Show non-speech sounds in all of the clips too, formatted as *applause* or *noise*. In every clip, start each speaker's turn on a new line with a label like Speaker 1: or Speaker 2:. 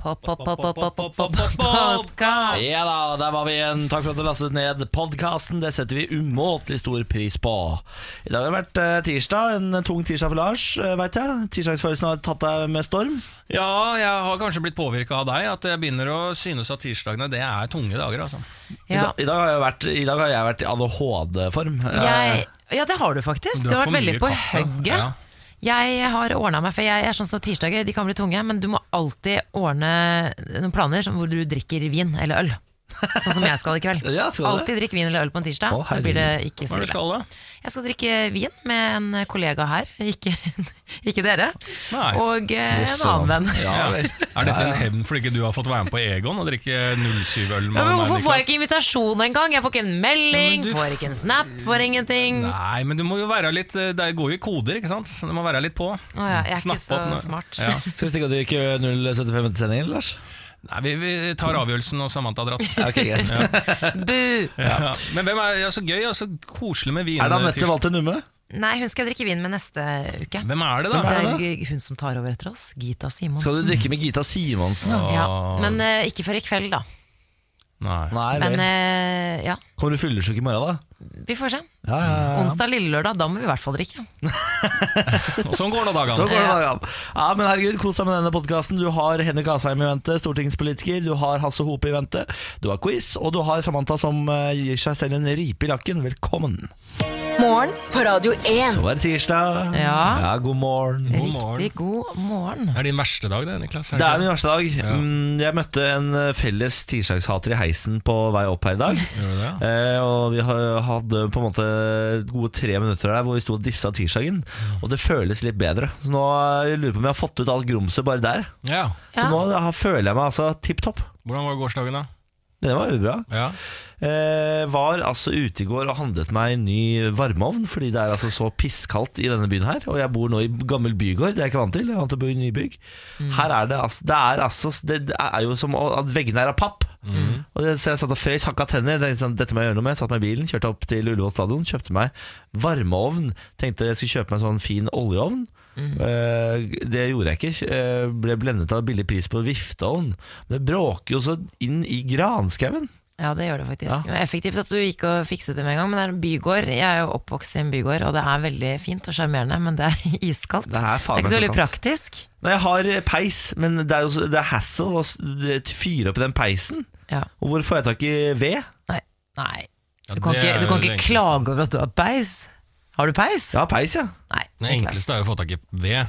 Speaker 1: Podcast.
Speaker 2: Ja da, der var vi igjen. Takk for at du lastet ned podkasten. Det setter vi umåtelig stor pris på. I dag har det vært eh, tirsdag. En tung tirsdag for Lars, eh, vet jeg. Tirsdagsfølelsen har tatt deg med storm.
Speaker 3: Ja, jeg har kanskje blitt påvirka av deg. At jeg begynner å synes at tirsdagene det er tunge dager. altså
Speaker 2: I,
Speaker 4: Ja.
Speaker 2: dag, i, dag har jeg vært, I dag har jeg vært i ADHD-form.
Speaker 4: Jeg, ja, det har du faktisk. Du har
Speaker 3: Eh, for
Speaker 4: vært veldig
Speaker 3: mye
Speaker 4: på
Speaker 3: kaffe.
Speaker 4: hugget.
Speaker 3: Ja.
Speaker 4: Jeg har ordna meg, for jeg er sånn som tirsdager, de kan bli tunge, men du må alltid ordne noen planer som hvor du drikker vin eller øl. Sånn som jeg skal i
Speaker 3: *laughs*
Speaker 4: kveld.
Speaker 2: Ja, skal du det?
Speaker 4: alltid drikke vin eller øl på en tirsdag,
Speaker 2: Å,
Speaker 4: så blir det
Speaker 3: Hva
Speaker 4: ikke så
Speaker 3: er det du
Speaker 4: ille.
Speaker 3: skal da?
Speaker 4: Jeg skal drikke vin med en kollega her, ikke, *laughs* ikke dere,
Speaker 3: Nei.
Speaker 4: og eh, en
Speaker 2: Også-
Speaker 4: annen venn.
Speaker 2: Ja,
Speaker 3: Ja.
Speaker 2: vel.
Speaker 3: Er dette en hevn for ikke du har fått være med på Egon og drikke 07-øl?
Speaker 4: Ja, men hvorfor får jeg ikke invitasjon engang? Jeg får ikke en melding,
Speaker 3: Ja, men du-
Speaker 4: får ikke en snap, får ingenting. Å
Speaker 3: Nei, men du må jo være litt eh, Det går jo i koder, ikke sant? Du må være litt på.
Speaker 4: ja, jeg er
Speaker 3: Snappe
Speaker 4: ikke så
Speaker 3: opp når-
Speaker 4: smart.
Speaker 3: Ja.
Speaker 2: Skal vi stikke og drikke 075 etter sendingen, Lars?
Speaker 3: Nei, vi, vi tar avgjørelsen, og Samantha har
Speaker 4: *laughs*
Speaker 3: dratt.
Speaker 2: Ja, ok, greit.
Speaker 4: Bu!
Speaker 3: Ja. Men hvem er ja, så gøy og så koselig med vin?
Speaker 2: Er det Anette
Speaker 3: tirsdag.
Speaker 2: Walter Numme?
Speaker 4: Nei, hun skal jeg drikke vin med neste uke.
Speaker 3: Hvem er det, da?
Speaker 4: Det
Speaker 2: er
Speaker 4: er hun som tar over etter oss. Gita Simonsen.
Speaker 2: Skal du drikke med Gita Simonsen? Ja?
Speaker 4: Ja, Men eh, ikke før i kveld, da.
Speaker 3: Nei.
Speaker 2: Nei,
Speaker 4: Men
Speaker 2: vel.
Speaker 4: eh, ja,
Speaker 2: Kommer du fyllesyk i morgen, da?
Speaker 4: vi får se.
Speaker 2: Ja, ja, ja.
Speaker 4: Onsdag lille lørdag, da må vi i hvert fall drikke.
Speaker 3: Og sånn går nå
Speaker 2: Så
Speaker 3: dagene.
Speaker 2: går det da, Jan. Ja, men herregud, Kos deg med denne podkasten. Du har Henrik Asheim i vente, stortingspolitiker. Du har Hasse Hope i vente. Du har quiz, og du har Samantha som eh, gir seg selv en ripe i lakken. Velkommen.
Speaker 5: Morgen på Radio 1.
Speaker 2: Så var det tirsdag.
Speaker 4: Ja.
Speaker 2: god morgen.
Speaker 3: God morgen.
Speaker 4: Riktig god morgen.
Speaker 3: Det er din verste dag, det, Niklas.
Speaker 2: Det
Speaker 3: ikke
Speaker 2: er min verste dag. Mm, Jeg møtte en eh, felles tirsdagshater i heisen på vei opp her i dag.
Speaker 3: Gjør du det?
Speaker 2: Eh, og vi har- hadde på en måte gode tre minutter der hvor vi sto og dissa tirsdagen. Og det føles litt bedre. Så nå eh, lurer jeg på om jeg har fått ut alt grumset bare der.
Speaker 3: Ja.
Speaker 2: Så
Speaker 4: Ja.
Speaker 2: nå har- føler jeg meg altså tipp topp.
Speaker 3: Hvordan var gårsdagen, da?
Speaker 2: Det var jo bra.
Speaker 3: Ja.
Speaker 2: Eh, var altså ute i går og handlet meg en ny varmeovn, fordi det er altså så pisskaldt i denne byen her. Og jeg bor nå i gammel bygård, det er jeg ikke vant til. Jeg er vant til å bo i nybygg. Her er det altså Det er, altså, det er jo som at veggene er av papp. Og det, så jeg satt og frøs, hakka tenner. Tenkte sånn, dette må jeg gjøre noe med. Satt meg i bilen, kjørte opp til Ullevål stadion, kjøpte meg varmeovn. Tenkte jeg skulle kjøpe meg en sånn fin oljeovn. Eh, det gjorde jeg ikke. Eh, ble blendet av billig pris på vifteovn. Men det bråker jo så inn i granskauen.
Speaker 4: Ja, det gjør det faktisk. Det var Effektivt at du gikk og fikset det med en gang. Men det er en bygård. Jeg er jo oppvokst i en bygård, og det er veldig fint og sjarmerende, men det er *laughs* iskaldt.
Speaker 2: Det er faen meg
Speaker 4: ikke så veldig
Speaker 2: så kaldt.
Speaker 4: praktisk.
Speaker 2: Nei, jeg har peis, men det er jo så- det er hassle å s- det- fyre opp i den peisen.
Speaker 4: Ja.
Speaker 2: Og hvor får jeg tak i ved?
Speaker 4: Nei. Nei.
Speaker 3: Ja,
Speaker 4: Du kan
Speaker 3: det
Speaker 4: ikke,
Speaker 3: er
Speaker 4: du kan
Speaker 3: det
Speaker 4: ikke
Speaker 3: enkleste.
Speaker 4: klage over at du har peis. Har du peis?
Speaker 2: Jeg har peis, ja.
Speaker 4: Nei.
Speaker 3: Det
Speaker 4: Niklas.
Speaker 3: enkleste er jo å få tak i ved.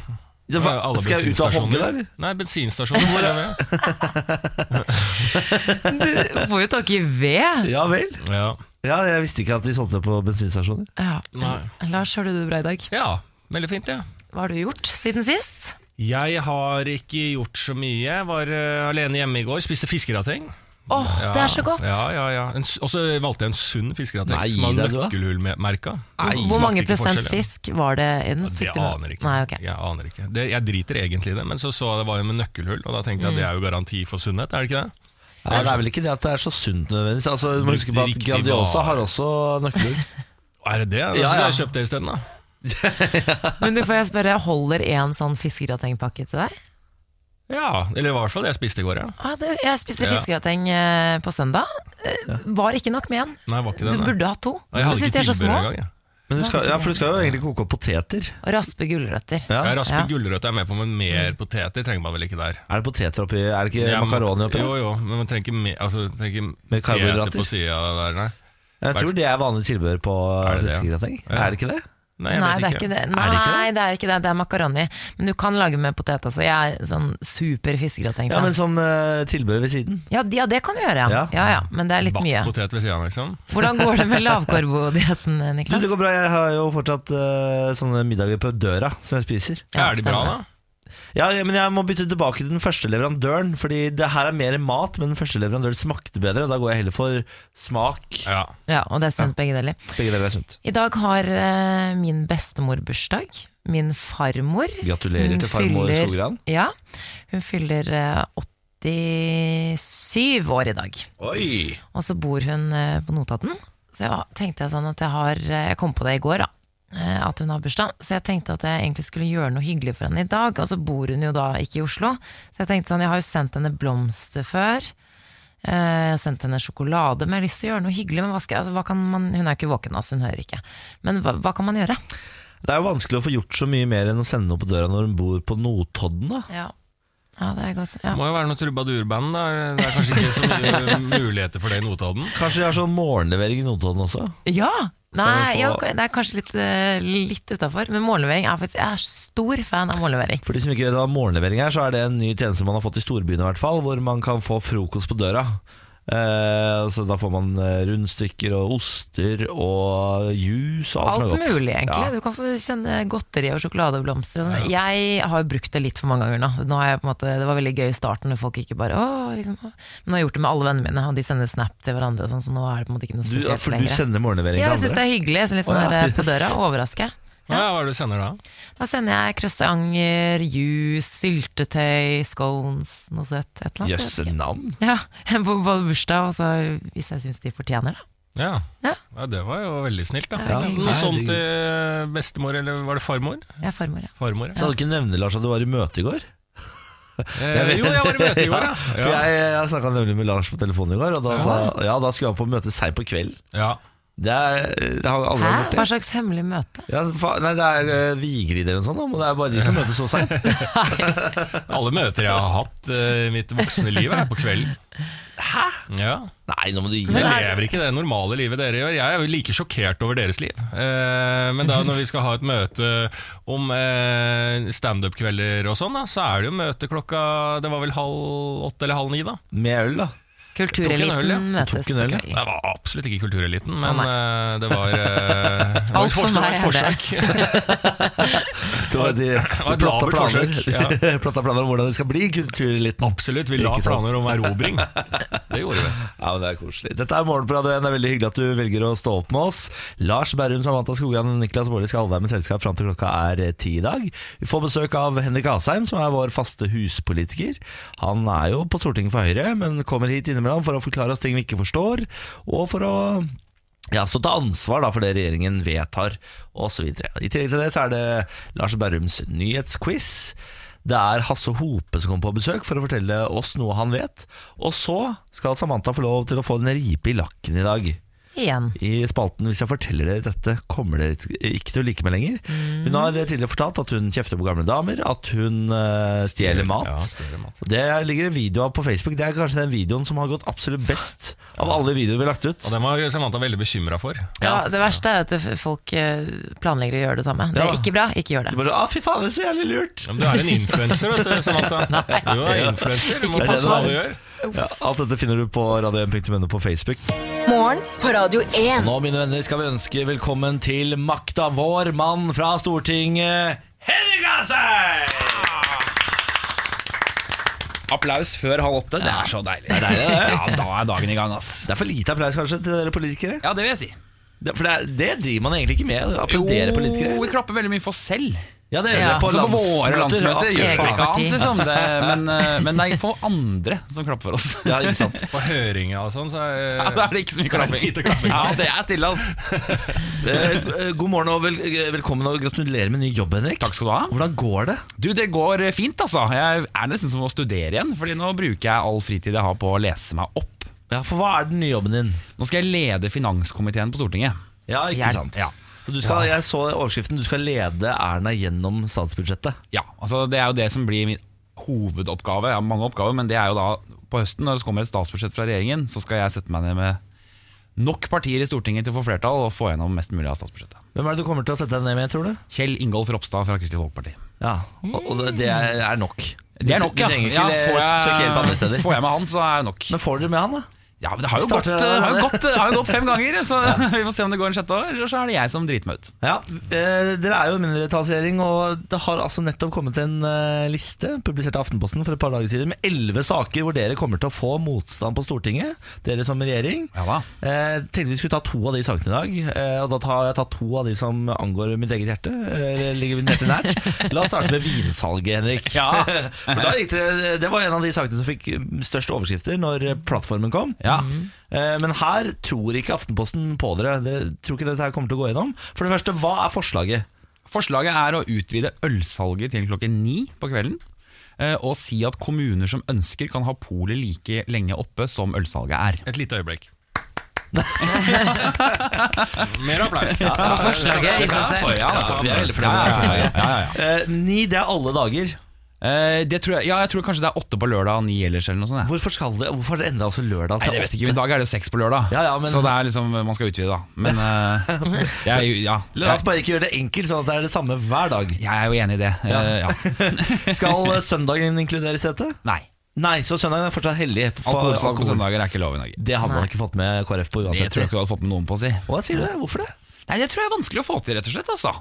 Speaker 2: Det er fa-
Speaker 3: Alle
Speaker 2: Skal jeg ut av
Speaker 3: bensinstasjoner-
Speaker 2: hogget der?
Speaker 3: Nei, bensinstasjoner får jeg ved.
Speaker 4: Du får jo tak i ved.
Speaker 2: Ja vel.
Speaker 3: Ja.
Speaker 2: Ja, jeg visste ikke at de solgte det på bensinstasjoner.
Speaker 4: Ja.
Speaker 3: Nei.
Speaker 4: Lars, har du det bra i dag?
Speaker 3: ja, veldig fint, ja.
Speaker 4: Hva har du gjort siden sist?
Speaker 3: Jeg har ikke gjort så mye. Jeg var eh, alene hjemme i går, spiste fiskerateng.
Speaker 4: Åh,
Speaker 3: Ja,
Speaker 4: det er så godt!
Speaker 3: Ja, ja, ja. En s- Og så valgte jeg en sunn fiskerateng
Speaker 2: Nei,
Speaker 3: som
Speaker 2: det
Speaker 3: har
Speaker 2: er du, da.
Speaker 3: nøkkelhullmerka.
Speaker 2: Nei,
Speaker 4: Hvor
Speaker 3: smakte
Speaker 4: mange
Speaker 3: ikke
Speaker 4: prosent
Speaker 3: forskjell, ja.
Speaker 4: fisk var det i den?
Speaker 3: Det
Speaker 4: Fikk du-
Speaker 3: aner jeg ikke.
Speaker 4: Nei, ok.
Speaker 3: Jeg aner ikke. Det, jeg driter egentlig i det, men så så jeg det var en med nøkkelhull, og da tenkte jeg at det er jo garanti for sunnhet, er det ikke det?
Speaker 2: Nei, det er vel ikke det at det er så sunt nødvendigvis. Altså, du må
Speaker 3: Brukte
Speaker 2: huske på at
Speaker 3: riktig
Speaker 2: Grandiosa
Speaker 3: vare.
Speaker 2: har også nøkler.
Speaker 3: Er det det? Da
Speaker 2: Ja,
Speaker 3: skulle
Speaker 2: ja.
Speaker 3: jeg kjøpt det isteden, da.
Speaker 4: Men du får jeg spørre, holder en sånn fiskegratengpakke til deg?
Speaker 3: Ja, eller i hvert fall det jeg spiste i går, ja.
Speaker 4: Ah, det, jeg spiste
Speaker 3: Ja.
Speaker 4: fiskegrateng eh, på søndag. Eh, Var ikke nok med én.
Speaker 3: Nei, det var ikke
Speaker 4: Du
Speaker 3: det. nei.
Speaker 4: burde ha to.
Speaker 3: Og jeg
Speaker 4: Du
Speaker 3: hadde
Speaker 4: synes
Speaker 3: ikke
Speaker 4: de er så
Speaker 3: tilbehør
Speaker 4: små.
Speaker 3: engang. jeg.
Speaker 2: Men du skal, ja, for du skal jo egentlig koke opp poteter.
Speaker 4: Og raspe gulrøtter.
Speaker 2: Ja.
Speaker 3: Jeg rasper
Speaker 4: Ja.
Speaker 3: gulrøtter er med på, men mer poteter trenger man vel ikke der.
Speaker 2: Er det poteter oppi? Er det ikke
Speaker 3: Ja, men-
Speaker 2: makaroni oppi?
Speaker 3: Jo, jo, men man trenger ikke mer altså, man trenger ikke
Speaker 2: Mer karbohydrater?
Speaker 3: poteter på siden der, nei.
Speaker 2: Jeg tror det er vanlig tilbehør på
Speaker 3: Er det det, ja?
Speaker 2: fiskegrateng.
Speaker 3: Ja.
Speaker 2: Er det ikke det?
Speaker 3: Nei, jeg
Speaker 4: Nei,
Speaker 3: vet
Speaker 4: det er ikke det.
Speaker 2: ikke
Speaker 4: Nei, det er ikke det. Det er makaroni. Men du kan lage med potet også. Jeg er sånn super fiskegrateng.
Speaker 2: Ja,
Speaker 4: Ja,
Speaker 2: men som eh, tilbehør ved siden.
Speaker 4: ja, de- ja, det kan du
Speaker 2: Ja.
Speaker 4: gjøre, ja. ja, ja. Men det er litt
Speaker 3: Bakt
Speaker 4: mye.
Speaker 3: potet ved siden, liksom.
Speaker 4: Hvordan går det med lavkarbodietten,
Speaker 2: Du,
Speaker 4: Niklas?
Speaker 2: det går bra. Jeg har jo fortsatt eh, sånne middager på døra som jeg spiser.
Speaker 4: Ja,
Speaker 3: er de bra,
Speaker 4: stemmer.
Speaker 3: da?
Speaker 2: Ja, ja, men jeg må bytte tilbake til den første leverandøren, Fordi det her er mer mat, men den første leverandøren smakte bedre. Da går jeg heller for smak.
Speaker 3: Ja.
Speaker 4: Ja, og det er sunt begge deler.
Speaker 2: Begge deler er sunt.
Speaker 4: I dag har eh, min bestemor bursdag. Min farmor.
Speaker 2: Gratulerer
Speaker 4: Hun
Speaker 2: til farmor
Speaker 4: fyller-
Speaker 2: Skogran.
Speaker 4: Ja, hun fyller eh, 87 år i dag.
Speaker 2: Oi!
Speaker 4: Og så bor hun eh, på Notodden. Så jeg tenkte jeg sånn at jeg har eh, Jeg kom på det i går, da. eh, At hun har bursdag. Så jeg tenkte at jeg egentlig skulle gjøre noe hyggelig for henne i dag. Og så bor hun jo da ikke i Oslo. Så jeg tenkte sånn, jeg har jo sendt henne blomster før. eh, Jeg har sendt henne sjokolade, men jeg har lyst til å gjøre noe hyggelig. Men hva skal jeg, altså, hva kan man, hun er ikke våken, altså, hun hører ikke. Men hva, hva kan man gjøre?
Speaker 2: Det er jo vanskelig å få gjort så mye mer enn å sende noe på døra når hun bor på Notodden. da
Speaker 4: Ja, ja det er godt. Ja.
Speaker 3: Må jo være noe trubadurband. da. Det er kanskje ikke så
Speaker 4: *laughs*
Speaker 3: mye muligheter for det i Notodden.
Speaker 2: Kanskje de har sånn morgenlevering i Notodden også?
Speaker 4: Ja! Nei,
Speaker 2: Så
Speaker 4: ja,
Speaker 2: få-
Speaker 4: det er kanskje litt, eh, litt utafor. Men morgenlevering er faktisk Jeg er stor fan av morgenlevering.
Speaker 2: For de som ikke vet hva morgenlevering er, så er det en ny tjeneste man har fått i storbyene i hvert fall, hvor man kan få frokost på døra. Eh, så da får man eh, rundstykker og oster og juice og alt, som er
Speaker 4: Alt
Speaker 2: godt.
Speaker 4: mulig, egentlig.
Speaker 2: Ja.
Speaker 4: Du kan få sende godteri og sjokoladeblomster. Og sånn. Jeg har jo brukt det litt for mange ganger nå. nå har jeg på en måte, det var veldig gøy i starten når folk ikke bare Åh, liksom. Men nå har jeg gjort det med alle vennene mine, og de sender snap til hverandre og sånn, så nå er det på en måte ikke noe
Speaker 2: Du, ja,
Speaker 4: spesielt
Speaker 2: for du
Speaker 4: lenger.
Speaker 2: sender morgenlevering
Speaker 4: Ja, jeg
Speaker 2: til
Speaker 4: syns
Speaker 2: andre?
Speaker 4: det er hyggelig. Så litt
Speaker 2: Å,
Speaker 4: sånn
Speaker 2: ja.
Speaker 4: der, eh, på
Speaker 2: Yes.
Speaker 4: døra. Overraske.
Speaker 3: Ja, hva er det du sender da?
Speaker 4: Da sender jeg croissanter, juice, syltetøy, scones, noe søtt. Et eller annet. jeg
Speaker 2: Jøsse
Speaker 4: vet ikke.
Speaker 2: navn.
Speaker 4: Ja, *laughs* på både bursdag og så hvis jeg syns de fortjener det.
Speaker 3: Ja.
Speaker 4: Ja.
Speaker 3: ja, Det var jo veldig snilt, da.
Speaker 4: Ja,
Speaker 3: Noe sånt
Speaker 2: herregud.
Speaker 3: til bestemor, eller var det farmor?
Speaker 4: Jeg er farmor, ja.
Speaker 2: Så
Speaker 3: Farmor, ja.
Speaker 2: hadde du ikke nevne, Lars, at du var i møte i går?
Speaker 3: Eh, jo, jeg var i møte i går,
Speaker 2: *laughs* For
Speaker 3: ja.
Speaker 2: jeg, jeg snakka nemlig med Lars på telefonen i går, og da, sa, ja, da skulle han på møte seint på kvelden.
Speaker 3: ja.
Speaker 2: Det, er, det har aldri
Speaker 4: Hæ?
Speaker 2: vært
Speaker 4: Hva
Speaker 2: gjort. det.
Speaker 4: slags hemmelig møte?
Speaker 2: Ja, fa, nei, det er eh, Vigrid eller noe sånt, da, men det er bare de
Speaker 3: *laughs*
Speaker 2: som møtes så seint.
Speaker 3: Alle møter jeg har hatt eh, i mitt voksne liv, er på kvelden. Hæ? Ja.
Speaker 2: Nei, nå må du gi
Speaker 3: Jeg
Speaker 2: deg.
Speaker 3: lever ikke det normale livet dere gjør. Jeg er jo like sjokkert over deres liv. Eh, men da når vi skal ha et møte om eh, standup-kvelder og sånn, da, så er det jo møte klokka Det var vel halv åtte eller halv ni, da.
Speaker 2: Med øl, da.
Speaker 4: Kultureliten
Speaker 3: øl, ja.
Speaker 4: møtes
Speaker 2: Tok en
Speaker 4: på
Speaker 2: øl, ja.
Speaker 4: kvelden.
Speaker 3: Det var absolutt ikke kultureliten,
Speaker 4: Å,
Speaker 3: men eh, det
Speaker 4: *laughs*
Speaker 3: var, eh, det var
Speaker 4: Alt
Speaker 3: et
Speaker 4: for
Speaker 3: forsøk. Det var et
Speaker 4: meg er det.
Speaker 3: forsøk.
Speaker 2: Det var de, de
Speaker 3: et
Speaker 2: platta
Speaker 3: labert
Speaker 2: planer,
Speaker 3: forsøk,
Speaker 2: *laughs*
Speaker 3: ja.
Speaker 2: platta planer om hvordan det skal bli kultureliten.
Speaker 3: *laughs* Absolutt. Vi la
Speaker 2: Ikke sant.
Speaker 3: planer om
Speaker 2: *laughs*
Speaker 3: erobring. Det gjorde vi.
Speaker 2: Ja, men det er koselig. Dette er Morgen på Radio 1. Det er veldig hyggelig at du velger å stå opp med oss. Lars Berrum, Samantha Skogran og Niklas Baarli skal holde deg med selskap fram til klokka er eh, ti i dag. Vi får besøk av Henrik Asheim, som er vår faste huspolitiker. Han er jo på Stortinget for Høyre, men kommer hit innimellom for å forklare oss ting vi ikke forstår, og for å ja, så ta ansvar da for det regjeringen vedtar, osv. I tillegg til det så er det Lars Berrums nyhetsquiz. Det er Hasse Hope som kommer på besøk for å fortelle oss noe han vet. Og så skal Samantha få lov til å få en ripe i lakken i dag.
Speaker 4: Igjen.
Speaker 2: I spalten 'Hvis jeg forteller dere dette, kommer dere ikke til å like meg lenger'. Hun har tidligere fortalt at hun kjefter på gamle damer, at hun eh, stjeler mat.
Speaker 3: Ja, større mat.
Speaker 2: Det ligger en video av på Facebook. Det er kanskje den videoen som har gått absolutt best av alle videoer vi har lagt ut.
Speaker 3: Og den var Samantha veldig bekymra for.
Speaker 4: Ja, det verste er at f- folk eh, planlegger å gjøre det samme. Det
Speaker 2: Ja.
Speaker 4: er ikke bra, ikke gjør
Speaker 2: De
Speaker 4: det.
Speaker 2: bare, ah, fy faen, det er så jævlig lurt
Speaker 3: Ja, men du er en influenser, vet du, Samantha. Du er influenser, du må
Speaker 2: Ikke
Speaker 3: passe hva
Speaker 2: det,
Speaker 3: du
Speaker 2: da.
Speaker 3: gjør.
Speaker 2: ja, Alt dette finner du på radio1.no på Facebook
Speaker 5: Morgen på Radio 1.
Speaker 2: Nå, mine venner, skal vi ønske velkommen til makta vår mann fra Stortinget Henrik Asheim!
Speaker 6: Applaus før halv åtte, det er så deilig. Ja, da er dagen i gang, ass.
Speaker 2: Det er for lite applaus kanskje til dere politikere
Speaker 6: Ja, det vil jeg si.
Speaker 2: Det- For det, er- det driver man egentlig ikke med å Applaudere
Speaker 6: Jo,
Speaker 2: politikere
Speaker 6: vi klapper veldig mye for oss selv.
Speaker 2: Ja, det gjør
Speaker 4: Ja.
Speaker 2: dere på
Speaker 6: Altså på våre
Speaker 2: landsmøter
Speaker 6: landsmøter.
Speaker 2: Ja, fy
Speaker 6: Gjør vi
Speaker 4: faen.
Speaker 6: ikke annet, liksom. det, men, eh, men det er for andre som klapper for oss.
Speaker 2: Ja, ikke sant
Speaker 3: På høringa og sånn, så er,
Speaker 6: *laughs* Ja, Da er det ikke så mye klapping.
Speaker 3: Lite klapping.
Speaker 6: Ja, det er stille, ass.
Speaker 2: Eh, eh, God morgen og vel, eh, velkommen og gratulerer med ny jobb, Henrik
Speaker 6: Takk skal du ha.
Speaker 2: Hvordan går det?
Speaker 6: Du, det går fint, altså. Jeg er nesten som å studere igjen, Fordi nå bruker jeg all fritid jeg har på å lese meg opp.
Speaker 2: Ja, for hva er den nye jobben din?
Speaker 6: Nå skal jeg lede finanskomiteen på Stortinget.
Speaker 2: Ja, ikke
Speaker 4: Hjelp.
Speaker 2: sant
Speaker 6: Ja.
Speaker 2: Så du skal, Jeg så overskriften, du skal lede Erna gjennom statsbudsjettet
Speaker 6: Ja, altså det er jo det som blir min hovedoppgave. Jeg har mange oppgaver, men det er jo da på høsten, når det kommer et statsbudsjett fra regjeringen, så skal jeg sette meg ned med nok partier i Stortinget til å få flertall og få gjennom mest mulig av statsbudsjettet.
Speaker 2: Hvem er det du kommer til å sette deg ned med, tror du?
Speaker 6: Kjell Ingolf Ropstad fra Kristelig Folkeparti.
Speaker 2: Ja, og og det er er nok.
Speaker 6: Det er nok,
Speaker 2: Du
Speaker 6: ja.
Speaker 2: trenger ikke
Speaker 6: ja
Speaker 2: le- søke hjelp andre steder.
Speaker 6: får jeg med han, så er det nok.
Speaker 2: Men får dere med han, da?
Speaker 6: Ja, men Det har jo
Speaker 2: Vi
Speaker 6: gått,
Speaker 2: starter der,
Speaker 6: det har jo
Speaker 2: Arne.
Speaker 6: gått, det har jo gått fem ganger, så *laughs* vi får se om det går en sjette år. Eller så er det jeg som driter meg ut.
Speaker 2: Ja, eh, Dere er jo en mindretallsregjering, og det har altså nettopp kommet en eh, liste publisert av Aftenposten for et par dager siden med elleve saker hvor dere kommer til å få motstand på Stortinget, dere som regjering.
Speaker 6: Ja da.
Speaker 2: Eh, tenkte vi skulle ta to av de sakene i dag, eh, og da tar- har jeg tatt to av de som angår mitt eget hjerte. Eh, ligger mitt hjerte nært. La oss starte med vinsalget, Henrik.
Speaker 6: Ja.
Speaker 2: *laughs* For da gikk dere, det var en av de sakene som fikk størst overskrifter når plattformen kom.
Speaker 6: Ja.
Speaker 2: Eh, Men her tror ikke Aftenposten på dere. Dere tror ikke dette her kommer til å gå gjennom. For det første, hva er forslaget?
Speaker 6: Forslaget er å utvide ølsalget til klokken ni på kvelden. eh, Og si at kommuner som ønsker kan ha polet like lenge oppe som ølsalget er.
Speaker 3: Et lite øyeblikk. Mer applaus.
Speaker 4: Forslaget i seg selv.
Speaker 6: Ja, nettopp.
Speaker 2: vi er veldig fornøyd med
Speaker 6: Ja, ja, ja, ja, ja, ja.
Speaker 2: Eh, Ni, det er alle dager.
Speaker 6: Eh, det tror jeg, ja, jeg tror kanskje det er åtte på lørdag og ni ellers eller noe sånt. Jeg.
Speaker 2: Hvorfor, skal det, hvorfor har det endra også lørdag
Speaker 6: Nei,
Speaker 2: til
Speaker 6: jeg vet ikke, I
Speaker 2: åtte?
Speaker 6: dag er det jo seks på lørdag,
Speaker 2: Ja, ja, men-
Speaker 6: så det er liksom, man skal utvide, da. Men
Speaker 2: *laughs*
Speaker 6: eh, jeg, er jo- ja,
Speaker 2: La oss
Speaker 6: jeg,
Speaker 2: bare ikke gjøre det enkelt, sånn at det er det samme hver dag.
Speaker 6: jeg er jo enig i det. Eh, ja.
Speaker 2: Skal
Speaker 6: *laughs*
Speaker 2: eh, søndagen inkluderes i dette? *laughs*
Speaker 6: Nei.
Speaker 2: Nei, så søndagen er fortsatt hellig. for
Speaker 6: Alkoholsalg på
Speaker 2: alkohol.
Speaker 6: søndager er ikke lov i Norge.
Speaker 2: Det hadde man ikke fått med KrF på
Speaker 6: Det
Speaker 2: uansett.
Speaker 6: tror jeg ikke du hadde fått med noen på å si.
Speaker 2: Hva sier du? Hvorfor det?
Speaker 6: Nei, Det tror jeg er vanskelig å få til, rett og slett. altså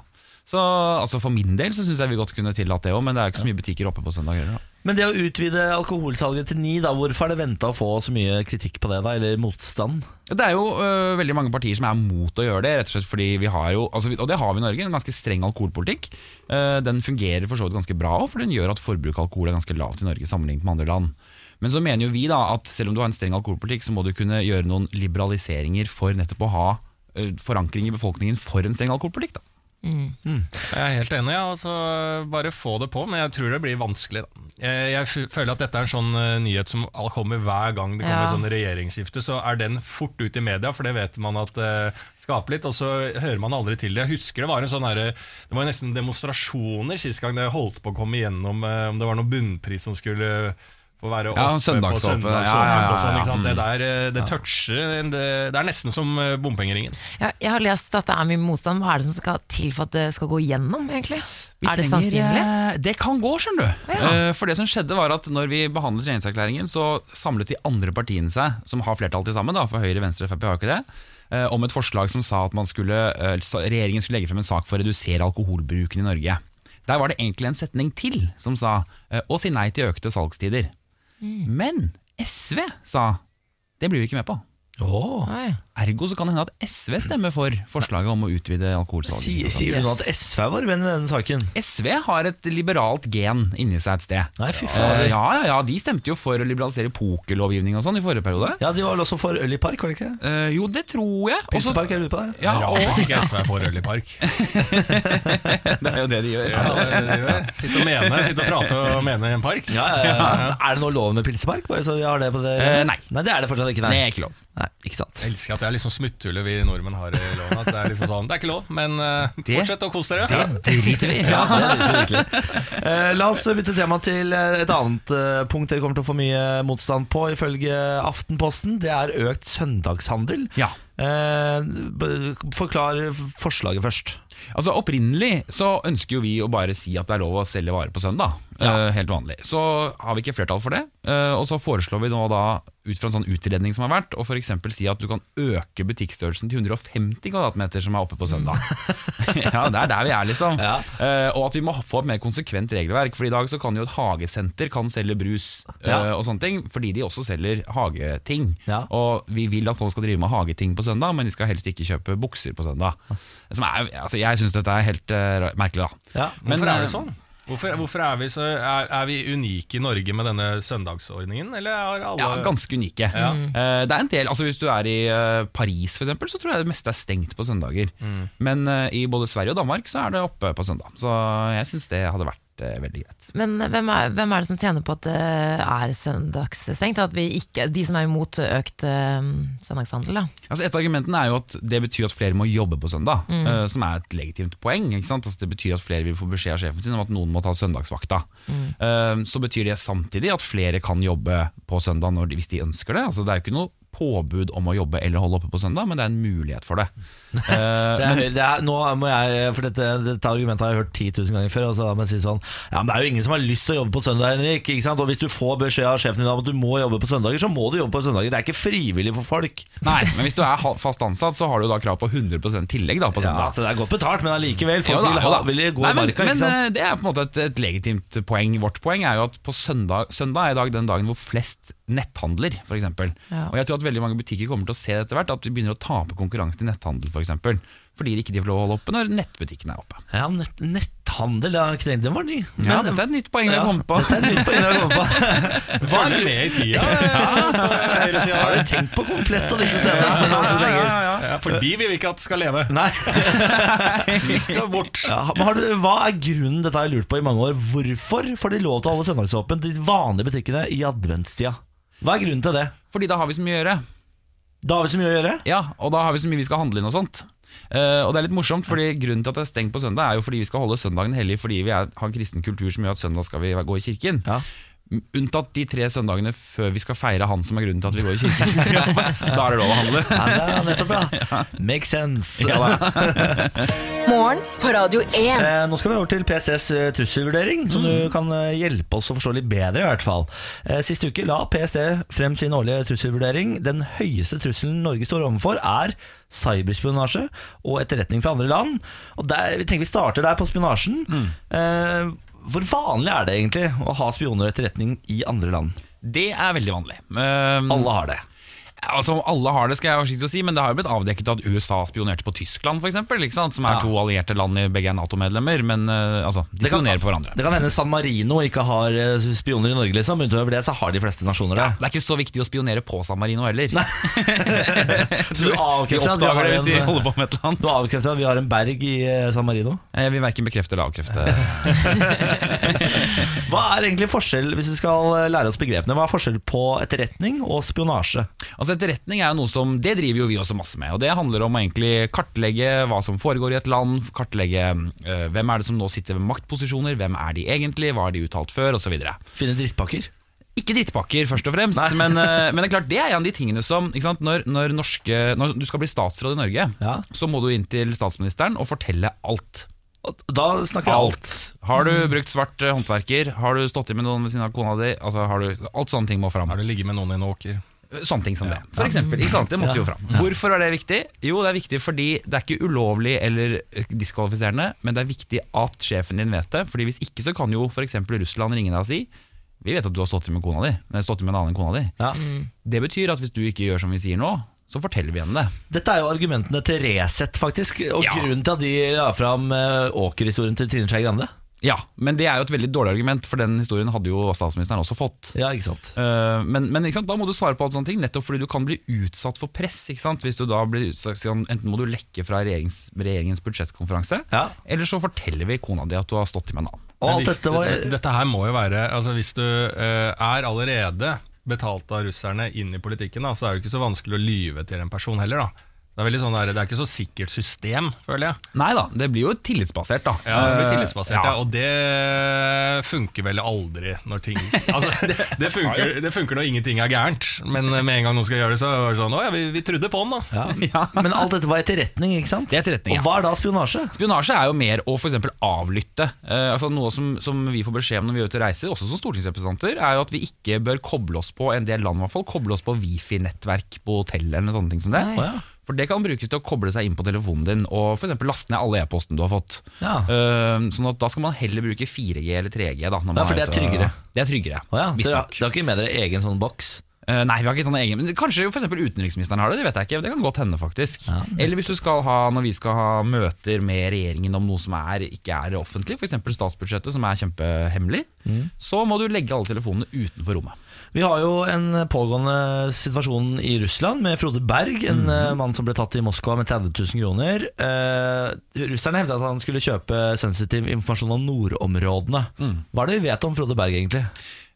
Speaker 6: så altså For min del så syns jeg vi godt kunne tillatt det òg, men det er jo ikke så mye butikker oppe på søndager. heller, da.
Speaker 2: Men det å utvide alkoholsalget til ni, da, hvorfor er det venta å få så mye kritikk på det, da? Eller motstand?
Speaker 6: Det er jo øh, veldig mange partier som er mot å gjøre det, rett og slett fordi vi har jo, altså, vi- og det har vi i Norge, en ganske streng alkoholpolitikk. Eh, den fungerer for så vidt ganske bra òg, for den gjør at forbruket av alkohol er ganske lavt i Norge sammenlignet med andre land. Men så mener jo vi da at selv om du har en streng alkoholpolitikk, så må du kunne gjøre noen liberaliseringer for nettopp å ha øh, forankring i befolkningen for en streng alkoholpolitikk. da.
Speaker 3: Jeg er helt enig, ja. Altså, bare få det på, men jeg tror det blir vanskelig. Da. Jeg, jeg f- føler at dette er en sånn eh, nyhet som all- kommer hver gang det kommer
Speaker 4: Ja.
Speaker 3: et sånn regjeringsskifte. Så er den fort ut i media, for det vet man at eh, skaper litt. Og så hører man aldri til det. Jeg husker det var en sånn herre Det var nesten demonstrasjoner sist gang det holdt på å komme igjennom eh, om det var noen bunnpris som skulle få være
Speaker 6: Ja,
Speaker 3: oppe på
Speaker 6: søndagsåpent.
Speaker 3: søndagsåpent.
Speaker 6: Ja, ja, ja, Mm.
Speaker 3: og sånn,
Speaker 6: ja.
Speaker 3: ikke sant? Det der eh, det toucher en- Det det er nesten som eh, bompengeringen.
Speaker 4: Ja, jeg har lest at det er mye motstand. Hva er det som skal til for at det skal gå gjennom, egentlig?
Speaker 6: Vi
Speaker 4: er det
Speaker 6: trenger,
Speaker 4: sannsynlig?
Speaker 6: eh, Det kan gå, skjønner du. Eh, For det som skjedde var at når vi behandlet regjeringserklæringen, så samlet de andre partiene seg, som har flertall til sammen, da, for Høyre, Venstre og Frp har jo ikke det, eh, om et forslag som sa at man skulle, eh, sa- regjeringen skulle legge frem en sak for å redusere alkoholbruken i Norge. Der var det egentlig en setning til som sa eh, å si nei til økte salgstider.
Speaker 4: Mm.
Speaker 6: Men SV sa det blir vi ikke med på.
Speaker 2: Oh.
Speaker 4: Oi.
Speaker 6: Ergo så kan det hende at SV stemmer for forslaget om å utvide alkoholsalget.
Speaker 2: Sier, sier du nå at SV er vår venn i denne saken?
Speaker 6: SV har et liberalt gen inni seg et sted.
Speaker 2: Nei, fy
Speaker 6: Eh,
Speaker 2: fader.
Speaker 6: ja, ja, ja, de stemte jo for å liberalisere pokerlovgivning og sånn i forrige periode.
Speaker 2: Ja, de var vel også for øl i park, var det ikke? det?
Speaker 6: Eh, jo, det tror jeg. Og så-
Speaker 2: Pilsepark, er du på det?
Speaker 6: Ja, og,
Speaker 3: Rart at ikke SV er for øl i park.
Speaker 6: *laughs* det er jo det de gjør.
Speaker 3: Ja, det er det vi gjør. Sitte og mene, sitte og prate og mene i en park.
Speaker 2: Ja, ja,
Speaker 6: *laughs*
Speaker 2: ja. Er det noe lov med pilsepark? Bare så vi har det på det
Speaker 6: Eh, nei.
Speaker 2: Nei, det er det fortsatt ikke.
Speaker 6: Det
Speaker 2: Nei,
Speaker 6: er ikke lov.
Speaker 2: nei ikke sant.
Speaker 3: Jeg elsker at det er liksom smutthullet vi nordmenn har i loven. At det er liksom sånn, det er ikke lov, men eh,
Speaker 6: Det-
Speaker 3: fortsett å kose dere.
Speaker 6: Det driter vi i.
Speaker 2: Ja, det er virkelig, virkelig. Eh, la oss bytte tema til eh, et annet eh, punkt dere kommer til å få mye motstand på, ifølge Aftenposten. Det er økt søndagshandel.
Speaker 6: Ja.
Speaker 2: Eh, b- forklar forslaget først.
Speaker 6: Altså Opprinnelig så ønsker jo vi å bare si at det er lov å selge varer på søndag. Eh, helt vanlig. Så har vi ikke flertall for det. eh, og så foreslår vi nå da, ut fra en sånn utredning som har vært, å f.eks. si at du kan øke butikkstørrelsen til 150 kvadratmeter som er oppe på
Speaker 2: *laughs*
Speaker 6: søndag. ja, det er der vi er, liksom.
Speaker 2: Ja.
Speaker 6: Eh, og at vi må få et mer konsekvent regelverk. For i dag så kan jo et hagesenter kan selge brus eh,
Speaker 2: Ja.
Speaker 6: og sånne ting, fordi de også selger hageting.
Speaker 2: Ja.
Speaker 6: Og vi vil at folk skal drive med hageting på søndag, men de skal helst ikke kjøpe bukser på søndag. Som er, altså jeg syns dette er helt eh, ra- merkelig, da.
Speaker 2: Ja.
Speaker 6: Men,
Speaker 3: Hvorfor er det
Speaker 6: eh,
Speaker 3: sånn? Hvorfor, hvorfor er, vi så, er, er vi unike i Norge med denne søndagsordningen, eller har alle
Speaker 6: Ja, ganske unike.
Speaker 3: Ja.
Speaker 6: Eh, det er en del, altså Hvis du er i eh, Paris, for eksempel, så tror jeg det meste er stengt på søndager.
Speaker 3: Mm.
Speaker 6: Men eh, i både Sverige og Danmark så er det oppe på søndag. Så jeg syns det hadde vært eh, veldig greit.
Speaker 4: Men hvem er, hvem er det som tjener på at det er søndagsstengt? At vi ikke, de som er imot økt eh, søndagshandel, da.
Speaker 6: Altså Et av argumentene er jo at det betyr at flere må jobbe på søndag,
Speaker 2: Mm.
Speaker 6: eh, som er et legitimt poeng. ikke sant? Altså Det betyr at flere vil få beskjed av sjefen sin om at noen må ta søndagsvakta.
Speaker 2: Mm.
Speaker 6: Eh, så betyr det samtidig at flere kan jobbe på søndag når de, hvis de ønsker det. Altså Det er jo ikke noe påbud om å jobbe eller holde oppe på søndag, men det er en mulighet
Speaker 2: *laughs*
Speaker 6: for det. Eh,
Speaker 2: Det er, høy- det er, nå må jeg, for dette, dette argumentet har jeg hørt 10 000 ganger før. Og så da må jeg si sånn Ja, men det er jo ingen som har lyst til å jobbe på søndag, Henrik. Ikke sant? Og hvis du får beskjed av sjefen din om at du må jobbe på søndager, så må du jobbe på søndager. Det er ikke frivillig for folk.
Speaker 6: Nei, men hvis du er ha- fast ansatt, så har du da krav på 100 tillegg da, på
Speaker 2: Ja,
Speaker 6: søndag.
Speaker 2: altså Det er godt betalt, men allikevel. Folk
Speaker 6: Jo da,
Speaker 2: vil,
Speaker 6: jo
Speaker 2: ha,
Speaker 6: da.
Speaker 2: vil gå
Speaker 6: Nei,
Speaker 2: i
Speaker 6: men,
Speaker 2: marka, ikke
Speaker 6: men, eh,
Speaker 2: sant?
Speaker 6: Det er på en måte et, et legitimt poeng. Vårt poeng er jo at på søndag, søndag er i dag den dagen hvor flest netthandler, f.eks. eksempel
Speaker 4: Ja.
Speaker 6: Og jeg tror at veldig mange butikker kommer til å se etter hvert at de begynner å tape konkurransen i netthandel, f.eks. For eksempel, fordi de ikke får lov å holde oppe når nettbutikken er oppe.
Speaker 2: Ja, nett, Netthandel, ja, knekk, den var ny.
Speaker 6: Ja,
Speaker 2: Men-
Speaker 6: dette er et nytt poeng jeg
Speaker 2: Ja,
Speaker 6: kom på.
Speaker 2: dette er et nytt poeng jeg kom på. Hva
Speaker 3: Følger med i tida på høyresida
Speaker 2: har
Speaker 3: der.
Speaker 2: du tenkt på komplett og disse
Speaker 6: *laughs*
Speaker 2: stedene? Altså, det er gøy.
Speaker 3: Ja, For de vil vi ikke at skal leve.
Speaker 2: Nei.
Speaker 3: De skal bort.
Speaker 2: Ja, men har du, hva er grunnen, dette har jeg lurt på i mange år, hvorfor får de lov til å holde søndagsåpent de vanlige butikkene i adventstida? Hva er grunnen til det?
Speaker 6: Fordi da har vi så mye å gjøre.
Speaker 2: Da har vi så mye å gjøre.
Speaker 6: Ja, og da har vi så mye vi skal handle inn og sånt. Eh, og det er litt morsomt, fordi Grunnen til at det er stengt på søndag, er jo fordi vi skal holde søndagen hellig fordi vi er, har en kristen kultur som gjør at søndag skal vi gå i kirken.
Speaker 2: Ja.
Speaker 6: Unntatt de tre søndagene før vi skal feire han som er grunnen til at vi går i
Speaker 2: *laughs*
Speaker 6: kirken. *laughs* da er det lov å handle.
Speaker 2: Nei, det er nettopp, ja. Makes sense.
Speaker 5: *laughs* Morgen på Radio 1.
Speaker 2: Eh, nå skal vi over til PCs eh, trusselvurdering, som du kan eh, hjelpe oss å forstå litt bedre. i hvert fall. Eh, sist uke la PST frem sin årlige trusselvurdering. Den høyeste trusselen Norge står overfor, er cyberspionasje og etterretning fra andre land. Og der, vi tenker vi starter der, på spionasjen. Eh, hvor vanlig er det egentlig å ha spioner og etterretning i andre land?
Speaker 6: Det er veldig vanlig. Eh,
Speaker 2: Alle har det.
Speaker 6: altså, alle har det, skal jeg være forsiktig å si, men det har jo blitt avdekket at USA spionerte på Tyskland, for eksempel, ikke sant? som er to allierte land i begge er Nato-medlemmer. Men eh, altså, de
Speaker 2: kan-
Speaker 6: spionerer på hverandre.
Speaker 2: Det kan hende San Marino ikke har eh, spioner i Norge, liksom. men Utover det så har de fleste nasjoner det.
Speaker 6: Det er ikke så viktig å spionere på San Marino heller.
Speaker 2: *laughs* Så du
Speaker 6: De
Speaker 2: avkrefter at vi
Speaker 6: oppdager
Speaker 2: har
Speaker 6: det hvis de
Speaker 2: en-
Speaker 6: holder på med et eller
Speaker 2: Du
Speaker 6: annet.
Speaker 2: avkrefter at vi har en berg i eh, San Marino.
Speaker 6: *laughs* Jeg vil verken bekrefte eller avkrefte. *laughs*
Speaker 2: Hva er egentlig forskjell, hvis vi skal eh, lære oss begrepene, hva er forskjell på etterretning og spionasje?
Speaker 6: Altså Etterretning er jo noe som Det driver jo vi også masse med. Og Det handler om å egentlig kartlegge hva som foregår i et land. Kartlegge eh, hvem er det som nå sitter ved maktposisjoner, hvem er de egentlig, hva har de uttalt før, osv.
Speaker 2: Finne drittpakker?
Speaker 6: Ikke drittpakker, først og fremst, men, *laughs* eh, men det er klart det er en av de tingene som ikke sant? Når, når, norske, når du skal bli statsråd i Norge,
Speaker 2: Ja.
Speaker 6: så må du inn til statsministeren og fortelle alt.
Speaker 2: Og Da snakker vi alt.
Speaker 6: Har du brukt svart eh, håndverker? Har du stått i med noen ved siden av kona di? Altså, har du, alt sånne ting må fram.
Speaker 3: Har du ligget med noen i en åker?
Speaker 6: Sånne ting som det. For eksempel, ikke sant? Det måtte jo fram. Hvorfor er det viktig? Jo, det er viktig fordi det er ikke ulovlig eller eh, diskvalifiserende, men det er viktig at sjefen din vet det. Fordi hvis ikke så kan jo f.eks. Russland ringe deg og si Vi vet at du har stått til med kona di. Nei, stått til med en annen enn kona di.
Speaker 2: Ja.
Speaker 6: Det betyr at hvis du ikke gjør som vi sier nå, så forteller vi henne det.
Speaker 2: Dette er jo argumentene til Resett, faktisk. Og
Speaker 6: Ja.
Speaker 2: grunnen til at de la fram eh, Åker-historien til Trine Skei Grande.
Speaker 6: Ja, men det er jo et veldig dårlig argument, for den historien hadde jo statsministeren også fått.
Speaker 2: Ja, ikke sant?
Speaker 6: Eh, Men, men ikke sant? da må du svare på alt sånne ting, nettopp fordi du kan bli utsatt for press. Ikke sant? Hvis du da blir utsatt, sånn, Enten må du lekke fra regjerings, regjeringens budsjettkonferanse,
Speaker 2: Ja.
Speaker 6: eller så forteller vi kona di at du har stått i med en annen.
Speaker 2: Og
Speaker 3: Men
Speaker 2: alt
Speaker 3: hvis,
Speaker 2: dette var
Speaker 3: dette- dette her må jo være altså Hvis du eh, er allerede betalt av russerne inn i politikken, da, så er det ikke så vanskelig å lyve til en person heller. da det er, veldig sånn der, det er ikke så sikkert system, føler jeg.
Speaker 6: Nei da, det blir jo tillitsbasert, da.
Speaker 3: Ja, det blir
Speaker 6: Eh,
Speaker 3: tillitsbasert, ja. Og det funker vel aldri når ting altså, *laughs* det, det, funker, det funker når ingenting er gærent, men med en gang noen skal gjøre det, så er det sånn Å ja, vi, vi trodde på den, da.
Speaker 2: *laughs* ja. Men alt dette var etterretning, ikke sant?
Speaker 6: Det er etterretning, ja.
Speaker 2: Og hva er da spionasje?
Speaker 6: Spionasje er jo mer å for eksempel avlytte. Eh, altså Noe som, som vi får beskjed om når vi er ute og reiser, også som stortingsrepresentanter, er jo at vi ikke bør koble oss på en del land, i hvert fall, koble oss på wifi-nettverk på hotell eller sånne ting som det.
Speaker 4: Nei.
Speaker 2: Å, ja.
Speaker 6: For det kan brukes til å koble seg inn på telefonen din og f.eks. laste ned alle e-posten du har fått.
Speaker 2: Ja.
Speaker 6: Eh, sånn at da skal man heller bruke 4G eller 3G. Da, når man
Speaker 2: Ja, for det
Speaker 6: er
Speaker 2: er
Speaker 6: ute og-
Speaker 2: tryggere.
Speaker 6: Det er tryggere.
Speaker 2: Å, ja. Så dere har-
Speaker 6: visstnok.
Speaker 2: dere har ikke med dere egen sånn boks?
Speaker 6: Eh, nei, vi har ikke sånne egen men Kanskje jo for eksempel utenriksministeren har det, det vet jeg ikke. Det kan godt hende, faktisk.
Speaker 2: Ja.
Speaker 6: Eller hvis du skal ha, når vi skal ha møter med regjeringen om noe som er, ikke er offentlig, f.eks. statsbudsjettet, som er kjempehemmelig,
Speaker 2: Mm.
Speaker 6: så må du legge alle telefonene utenfor rommet.
Speaker 2: Vi har jo en pågående situasjon i Russland med Frode Berg, en
Speaker 6: Mhm.
Speaker 2: eh, mann som ble tatt i Moskva med 30 000 kroner. Eh, russerne hevdet at han skulle kjøpe sensitiv informasjon om nordområdene.
Speaker 6: Mm.
Speaker 2: Hva er det vi vet om Frode Berg, egentlig?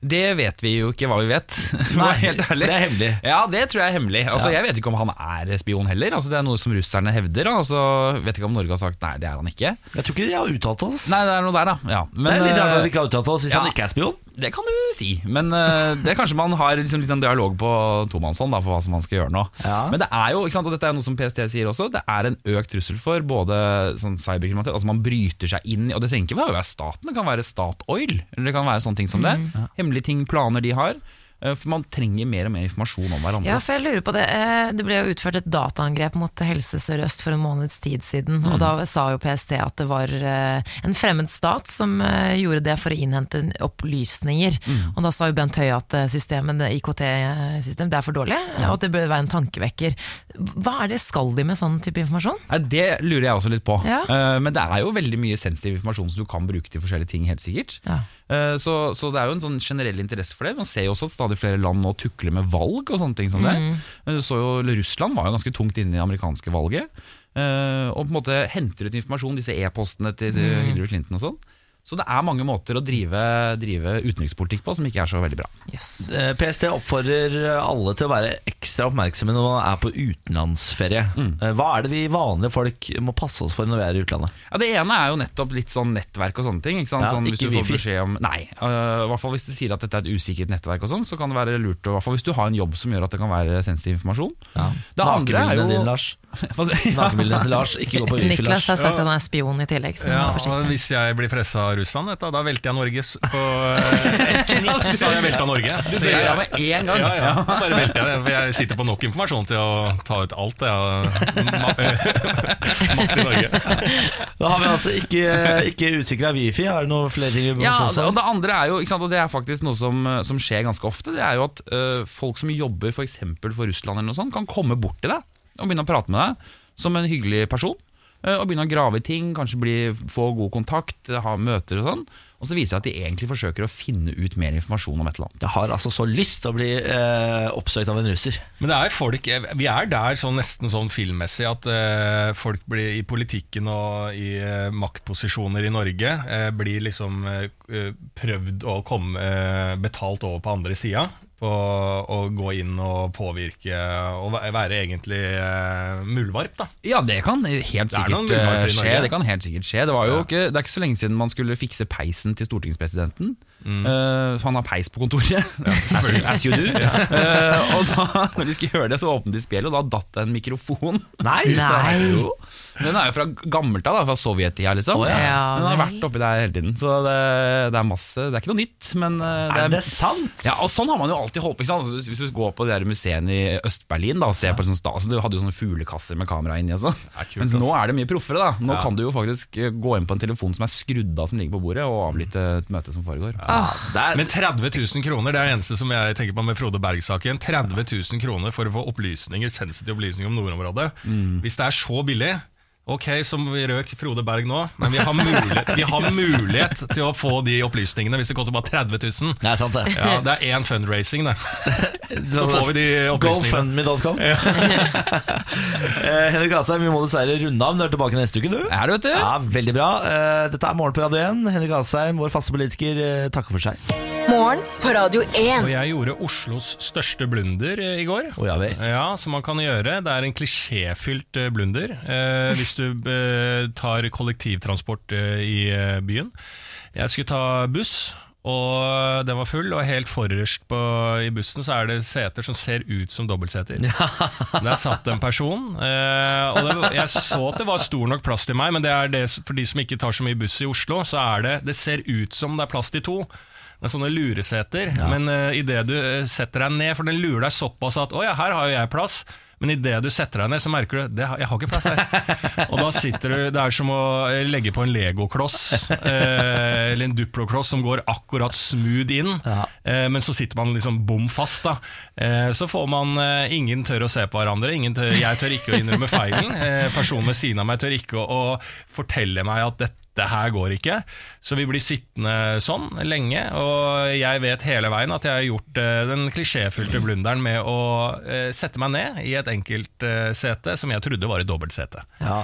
Speaker 6: Det vet vi jo ikke hva vi vet. *laughs* for å være helt
Speaker 2: for
Speaker 6: ærlig.
Speaker 2: det er hemmelig.
Speaker 6: Ja, det tror jeg er hemmelig. Altså, Jeg vet ikke om han er spion heller. Altså, det er noe som russerne hevder. da. Altså, vet ikke om Norge har sagt nei, det er han ikke.
Speaker 2: Jeg tror ikke de har uttalt oss.
Speaker 6: Nei, det er noe der, da. Ja. Men,
Speaker 2: det er litt rart
Speaker 6: eh,
Speaker 2: at de ikke har uttalt oss hvis
Speaker 6: ja.
Speaker 2: han ikke er spion.
Speaker 6: Det kan du si, men eh, det er kanskje man har liksom litt sånn dialog på tomannshånd da, på hva som man skal gjøre nå.
Speaker 2: Ja.
Speaker 6: Men det er jo, ikke sant, og dette er noe som PST sier også, det er en økt trussel for både sånn cyberkriminalitet, altså man bryter seg inn, i- og det trenger ikke bare å være staten, det kan være Statoil, eller det kan være sånne ting som
Speaker 4: Mm.
Speaker 6: det. Hemmelige ting, planer de har. eh, For man trenger mer og mer informasjon om hverandre.
Speaker 4: Ja, for jeg lurer på Det Eh, Det ble jo utført et dataangrep mot Helse Sør-Øst for en måneds tid siden. og Da sa jo PST at det var eh, en fremmed stat som eh, gjorde det for å innhente opplysninger. Og Da sa jo Bent Høie at eh, systemet, det IKT-systemet det er for dårlig, og at det bør være en tankevekker. Hva er det skal de med sånn type informasjon?
Speaker 6: Nei, Det lurer jeg også litt på.
Speaker 4: Ja.
Speaker 6: Eh, men det er jo veldig mye sensitiv informasjon som du kan bruke til forskjellige ting. helt sikkert.
Speaker 4: Ja.
Speaker 6: Eh, så, så det er jo en sånn generell interesse for det. Man ser jo også at stadig flere land nå tukler med valg og sånne ting som det. Eh, Du så jo Russland var jo ganske tungt inne i det amerikanske valget. eh, og på en måte henter ut informasjon, disse e-postene til til Hillary Clinton og sånn. Så det er mange måter å drive, drive utenrikspolitikk på som ikke er så veldig bra.
Speaker 4: Yes.
Speaker 2: Eh, PST oppfordrer alle til å være ekstra oppmerksomme når man er på utenlandsferie.
Speaker 6: Mm.
Speaker 2: Eh, Hva er det vi vanlige folk må passe oss for når vi er i utlandet?
Speaker 6: Ja, Det ene er jo nettopp litt sånn nettverk og sånne ting. Ikke sant?
Speaker 2: Ja,
Speaker 6: sånn,
Speaker 2: ikke
Speaker 6: hvis du
Speaker 2: wifi.
Speaker 6: får beskjed om Nei. øh, I hvert fall hvis de sier at dette er et usikkert nettverk, og sånn, så kan det være lurt. Og, hvert fall hvis du har en jobb som gjør at det kan være sensitiv informasjon. Det andre
Speaker 2: Nakenbildene
Speaker 6: er jo
Speaker 2: dine, Lars.
Speaker 6: *laughs* Hva sier- Ja.
Speaker 2: Nakenbildene til Lars, ikke gå på wifi,
Speaker 4: Niklas
Speaker 2: Lars.
Speaker 4: har sagt at han er spion i tillegg, så
Speaker 3: Ja,
Speaker 4: vær
Speaker 3: og
Speaker 4: forsiktig.
Speaker 3: hvis jeg blir pressa av Russland, vet du, da velter jeg Norge s- på eh, et knips. har jeg velta Norge. Så
Speaker 6: Det gjør jeg
Speaker 3: jeg,
Speaker 6: med en gang.
Speaker 3: ja, ja, bare velter jeg det, for jeg sitter på nok informasjon til å ta ut alt det jeg *laughs* har makt i Norge.
Speaker 2: Da har vi altså ikke, ikke utsikra wifi. Er det noen flere ting vi må
Speaker 6: Ja,
Speaker 2: passe oss for?
Speaker 6: og det andre er jo, ikke sant, og det er faktisk noe som, eh, som skjer ganske ofte, det er jo at øh, folk som jobber for eksempel for Russland eller noe sånt, kan komme bort til deg og begynne å prate med deg som en hyggelig person, øh, og begynne å grave i ting, kanskje bli, få god kontakt, ha møter og sånn, og så viser det seg at de egentlig forsøker å finne ut mer informasjon om et eller annet.
Speaker 2: Jeg har altså så lyst til å bli eh, oppsøkt av en russer.
Speaker 3: Men det er folk, vi er der sånn, nesten sånn filmmessig at eh, folk blir i politikken og i eh, maktposisjoner i Norge eh, blir liksom eh, eh, prøvd å komme eh, betalt over på andre sida. På å gå inn og påvirke og væ- være egentlig eh, muldvarp, da.
Speaker 6: Ja, det kan helt
Speaker 3: Det er noen
Speaker 6: sikkert
Speaker 3: muligheter
Speaker 6: eh,
Speaker 3: i
Speaker 6: skje.
Speaker 3: Norge.
Speaker 6: Det kan helt sikkert skje Det, var
Speaker 3: Ja.
Speaker 6: jo ikke, det er ikke så lenge siden man skulle fikse peisen til stortingspresidenten.
Speaker 3: Mm.
Speaker 6: Eh, så han har peis på kontoret, as, you, *laughs* as you do. Eh, og da når de skulle gjøre det, så åpnet de spjeldet, og da datt det en mikrofon.
Speaker 2: Nei!
Speaker 6: ut av-
Speaker 4: Nei.
Speaker 6: Jo. Den er jo fra gammelt av, da, fra sovjettida, liksom.
Speaker 2: Å, ja.
Speaker 4: Ja,
Speaker 6: Den har
Speaker 4: vel.
Speaker 6: vært oppi der hele tiden. Så det, det er masse Det er ikke noe nytt, men eh,
Speaker 2: Er det sant?
Speaker 6: ja, og Sånn har man jo alltid holdt på. ikke sant? Altså, Hvis du går på de der museene i Øst-Berlin da, og ser på det sånn stas, Du hadde jo sånne fuglekasser med kamera inni. og sånn.
Speaker 3: er kult,
Speaker 6: Men
Speaker 3: ass.
Speaker 6: nå er det mye proffere. da. Nå kan du jo faktisk eh, gå inn på en telefon som er skrudd av, som ligger på bordet, og avlytte et møte som foregår.
Speaker 2: Der,
Speaker 3: Men 30 000 kroner, det er det eneste som jeg tenker på med Frode Berg-saken. 30 000 kroner for å få opplysninger, sensitive opplysninger om nordområdet. Hvis det er så billig Ok, som vi røk Frode Berg nå, men vi har, mulighet, vi har mulighet til å få de opplysningene hvis det koster bare 30 000.
Speaker 2: det er sant, det.
Speaker 3: Ja, det er én fundraising, det. Så får vi de opplysningene.
Speaker 2: GoFundMe.com. *laughs* Eh, Henrik Asheim, vi må dessverre runde av. men Du er tilbake neste uke, du.
Speaker 6: Er det, vet du?
Speaker 2: Ja, Veldig bra. Eh, Dette er Morgen på Radio 1. Henrik Asheim, vår faste politiker, eh, takker for seg.
Speaker 5: Morgen på Radio 1.
Speaker 3: Og jeg gjorde Oslos største blunder eh, i går.
Speaker 2: Å, ja vel.
Speaker 3: Ja, som man kan gjøre. Det er en klisjéfylt eh, blunder eh, hvis du eh, tar kollektivtransport eh, i eh, byen. Jeg skulle ta buss, og den var full, og helt forrest på, i bussen så er det seter som ser ut som dobbeltseter. Der satt en person, eh, og det, jeg så at det var stor nok plass til meg, men det er det, s- for de som ikke tar så mye buss i Oslo, så er det, det ser ut som det er plass til to. Det er sånne lureseter, men uh, i det du eh, setter deg ned, for den lurer deg såpass at åja, her har jo jeg plass. Men idet du setter deg ned, så merker du det, har- jeg har ikke plass her. Og da sitter du, Det er som å eh, legge på en legokloss, eh, eller en duplokloss som går akkurat smooth inn, eh, men så sitter man liksom bom fast. da. Eh, så får man eh, Ingen tør å se på hverandre. Ingen tør, jeg tør ikke å innrømme feilen. Eh, personen ved siden av meg tør ikke å, å fortelle meg at dette det her går ikke. Så vi blir sittende sånn lenge, og jeg vet hele veien at jeg har gjort eh, den klisjéfylte blunderen med å eh, sette meg ned i et enkeltsete som jeg trodde var et dobbeltsete.
Speaker 2: Ja.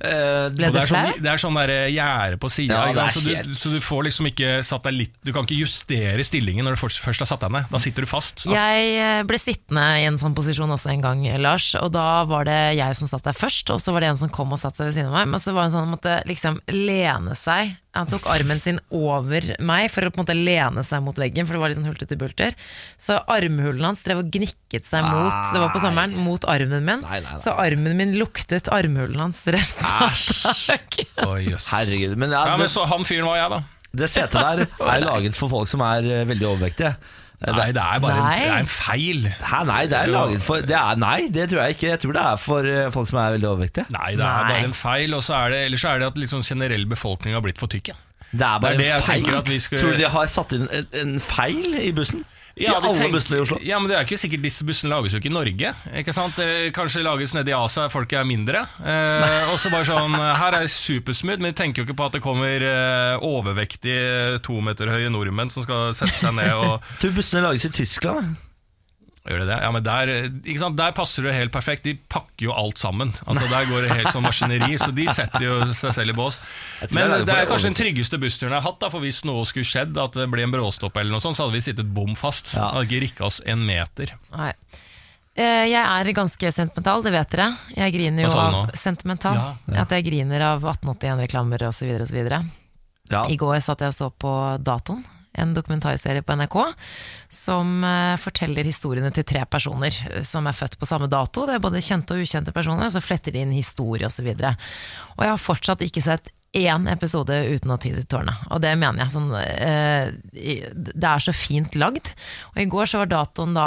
Speaker 2: Eh,
Speaker 4: Ble
Speaker 3: Og
Speaker 4: du
Speaker 3: det er sånn,
Speaker 4: flau?
Speaker 3: det er sånn der, eh, gjerde på sida,
Speaker 2: Ja, det
Speaker 3: ikke
Speaker 2: er
Speaker 3: sant? så,
Speaker 2: helt-
Speaker 3: du- så du får liksom ikke satt deg litt Du kan ikke justere stillingen når du først først har satt deg ned. Da sitter du fast.
Speaker 4: Jeg eh, ble sittende i en sånn posisjon også en gang, eh, Lars. Og da var det jeg som satt der først, og så var det en som kom og satte seg ved siden av meg. Men så var det en sånn, måtte liksom lene lene seg. Han tok armen sin over meg for å på en måte lene seg mot veggen, for det var litt sånn hultete bulter. Så armhulen hans drev og gnikket seg mot Det var på sommeren, mot armen min.
Speaker 2: Nei, nei, nei.
Speaker 4: Så armen min luktet armhulen hans resten av dagen.
Speaker 2: Herregud. Men, ja,
Speaker 3: Ja, men
Speaker 2: det,
Speaker 3: så han fyren var jeg, da.
Speaker 2: det setet der
Speaker 3: *laughs*
Speaker 2: er laget for folk som er eh, veldig overvektige. Eh,
Speaker 3: Nei, det er bare en,
Speaker 4: Nei.
Speaker 3: det er en feil.
Speaker 2: Hæ, nei, det er laget for det er, Nei, det tror jeg ikke. Jeg tror det er for eh, folk som er veldig overvektige.
Speaker 3: Nei, det er
Speaker 4: Nei.
Speaker 3: bare en feil. Og så er det, ellers så er det at liksom generell befolkning har blitt for tykk. ja.
Speaker 2: Det er bare
Speaker 3: Det er det jeg
Speaker 2: en feil.
Speaker 3: tenker at vi skal-
Speaker 2: Tror du de har satt inn en, en feil i bussen? I
Speaker 3: Ja, det
Speaker 2: alle
Speaker 3: tenk-
Speaker 2: bussene i Oslo?
Speaker 3: Ja, men det er ikke sikkert disse bussene lages jo ikke i Norge. Ikke sant? Eh, Kanskje lages nede i Asia, folk er mindre. Eh, og så bare sånn Her er supersmooth, men de tenker jo ikke på at det kommer eh, overvektige eh, to meter høye nordmenn som skal sette seg ned og *laughs*
Speaker 2: Tror du bussene lages i Tyskland? da?
Speaker 3: Gjør det det? Ja, men der, eh, ikke sant? der passer det helt perfekt. De pakker jo alt sammen. Altså, der går det helt som maskineri, så de setter jo seg selv i bås.
Speaker 2: Jeg tror
Speaker 3: Men
Speaker 2: jeg lager
Speaker 3: det
Speaker 2: for
Speaker 3: er
Speaker 2: det
Speaker 3: kanskje den tryggeste bussturen jeg har hatt, da, for hvis noe skulle skjedd, at det ble en bråstopp, eller noe sånt, så hadde vi sittet bom fast.
Speaker 2: Ja.
Speaker 3: Hadde ikke rikka oss en meter.
Speaker 4: Nei. Eh, Jeg er ganske sentimental, det vet dere. Jeg
Speaker 3: Hva
Speaker 4: griner jo
Speaker 3: sa du
Speaker 4: av
Speaker 3: nå?
Speaker 4: sentimental.
Speaker 3: Ja,
Speaker 4: At jeg griner av 1881-reklamer osv. videre
Speaker 2: Ja.
Speaker 4: I går satt jeg og så på Datoen, en dokumentarserie på NRK, som eh, forteller historiene til tre personer eh, som er født på samme dato. Det er både kjente og ukjente personer, og så fletter de inn historie osv. Og, så og jeg har fortsatt ikke sett én episode uten å ty til tårene. Og det mener jeg. Sånn, eh, i- det er så fint lagd. Og i går så var datoen da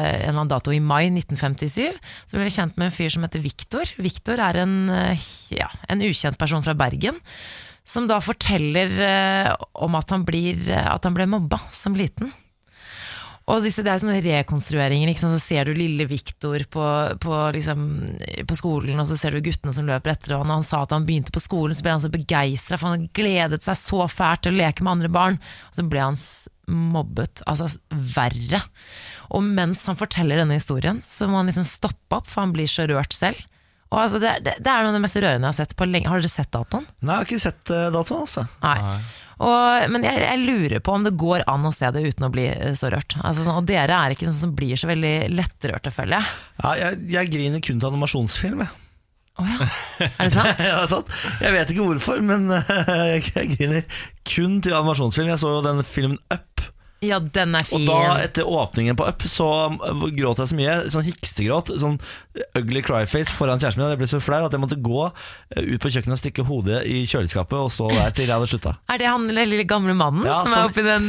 Speaker 4: en eller annen dato i mai 1957. Så ble vi kjent med en fyr som heter Viktor. Viktor er en, eh, ja, en ukjent person fra Bergen som da forteller eh, om at han, blir, eh, at han ble mobba som liten. Og disse, det er sånne rekonstrueringer. Ikke sant? Så ser du lille Viktor på, på, liksom, på skolen, og så ser du guttene som løper etter ham. Og han sa at han begynte på skolen, så ble han så begeistra, for han gledet seg så fælt til å leke med andre barn. Og så ble han s- mobbet, altså s- verre. Og mens han forteller denne historien, så må han liksom stoppe opp, for han blir så rørt selv. Og altså, det, det, det er noe av det mest rørende jeg har sett på lenge. Har dere sett datoen?
Speaker 2: Nei, jeg har ikke sett eh, datoen, altså.
Speaker 4: Nei. Og, men jeg, jeg lurer på om det går an å se det uten å bli eh, så rørt. Altså, sånn, og dere er ikke sånn som blir så veldig lettrørte, føler jeg.
Speaker 2: Ja, jeg, jeg griner kun til animasjonsfilm. Jeg.
Speaker 4: Å ja. Er det
Speaker 2: *laughs*
Speaker 4: sant?
Speaker 2: Ja, det er sant. Jeg vet ikke hvorfor, men *laughs* jeg griner kun til animasjonsfilm. Jeg så jo den filmen Up,
Speaker 4: Ja, den er
Speaker 2: og
Speaker 4: fin.
Speaker 2: da etter åpningen på Up så um, gråt jeg så mye. Sånn hikstegråt. Sånn ugly cryface foran kjæresten min. Jeg ble så flau at jeg måtte gå eh, ut på kjøkkenet og stikke hodet i kjøleskapet og stå der til jeg hadde slutta.
Speaker 4: Er det han den lille gamle mannen
Speaker 2: Ja,
Speaker 4: som
Speaker 2: sånn-
Speaker 4: er oppi den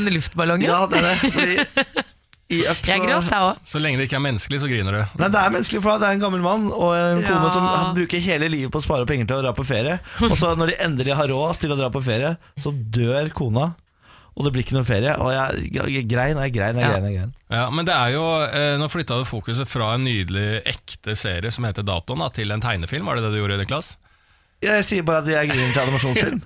Speaker 2: *laughs*
Speaker 4: luftballongen?
Speaker 2: Ja, det er det. Fordi i Up så
Speaker 4: jeg gråt, jeg òg.
Speaker 3: Så lenge det ikke er menneskelig, så griner du.
Speaker 2: Nei, Det er menneskelig, for det er en gammel mann og en kone
Speaker 4: Ja.
Speaker 2: som han bruker hele livet på å spare penger til å dra på ferie. Og så når de endelig har råd til å dra på ferie, så dør kona, og det blir ikke noe ferie. Og jeg, jeg grein, jeg grein, jeg
Speaker 4: Ja.
Speaker 2: grein. Jeg grein.
Speaker 3: Ja, men det er jo, eh, Nå flytta du fokuset fra en nydelig, ekte serie som heter Datoen, da, til en tegnefilm. Var det det du gjorde, Niklas?
Speaker 2: Jeg sier bare at jeg griner til animasjonsfilm.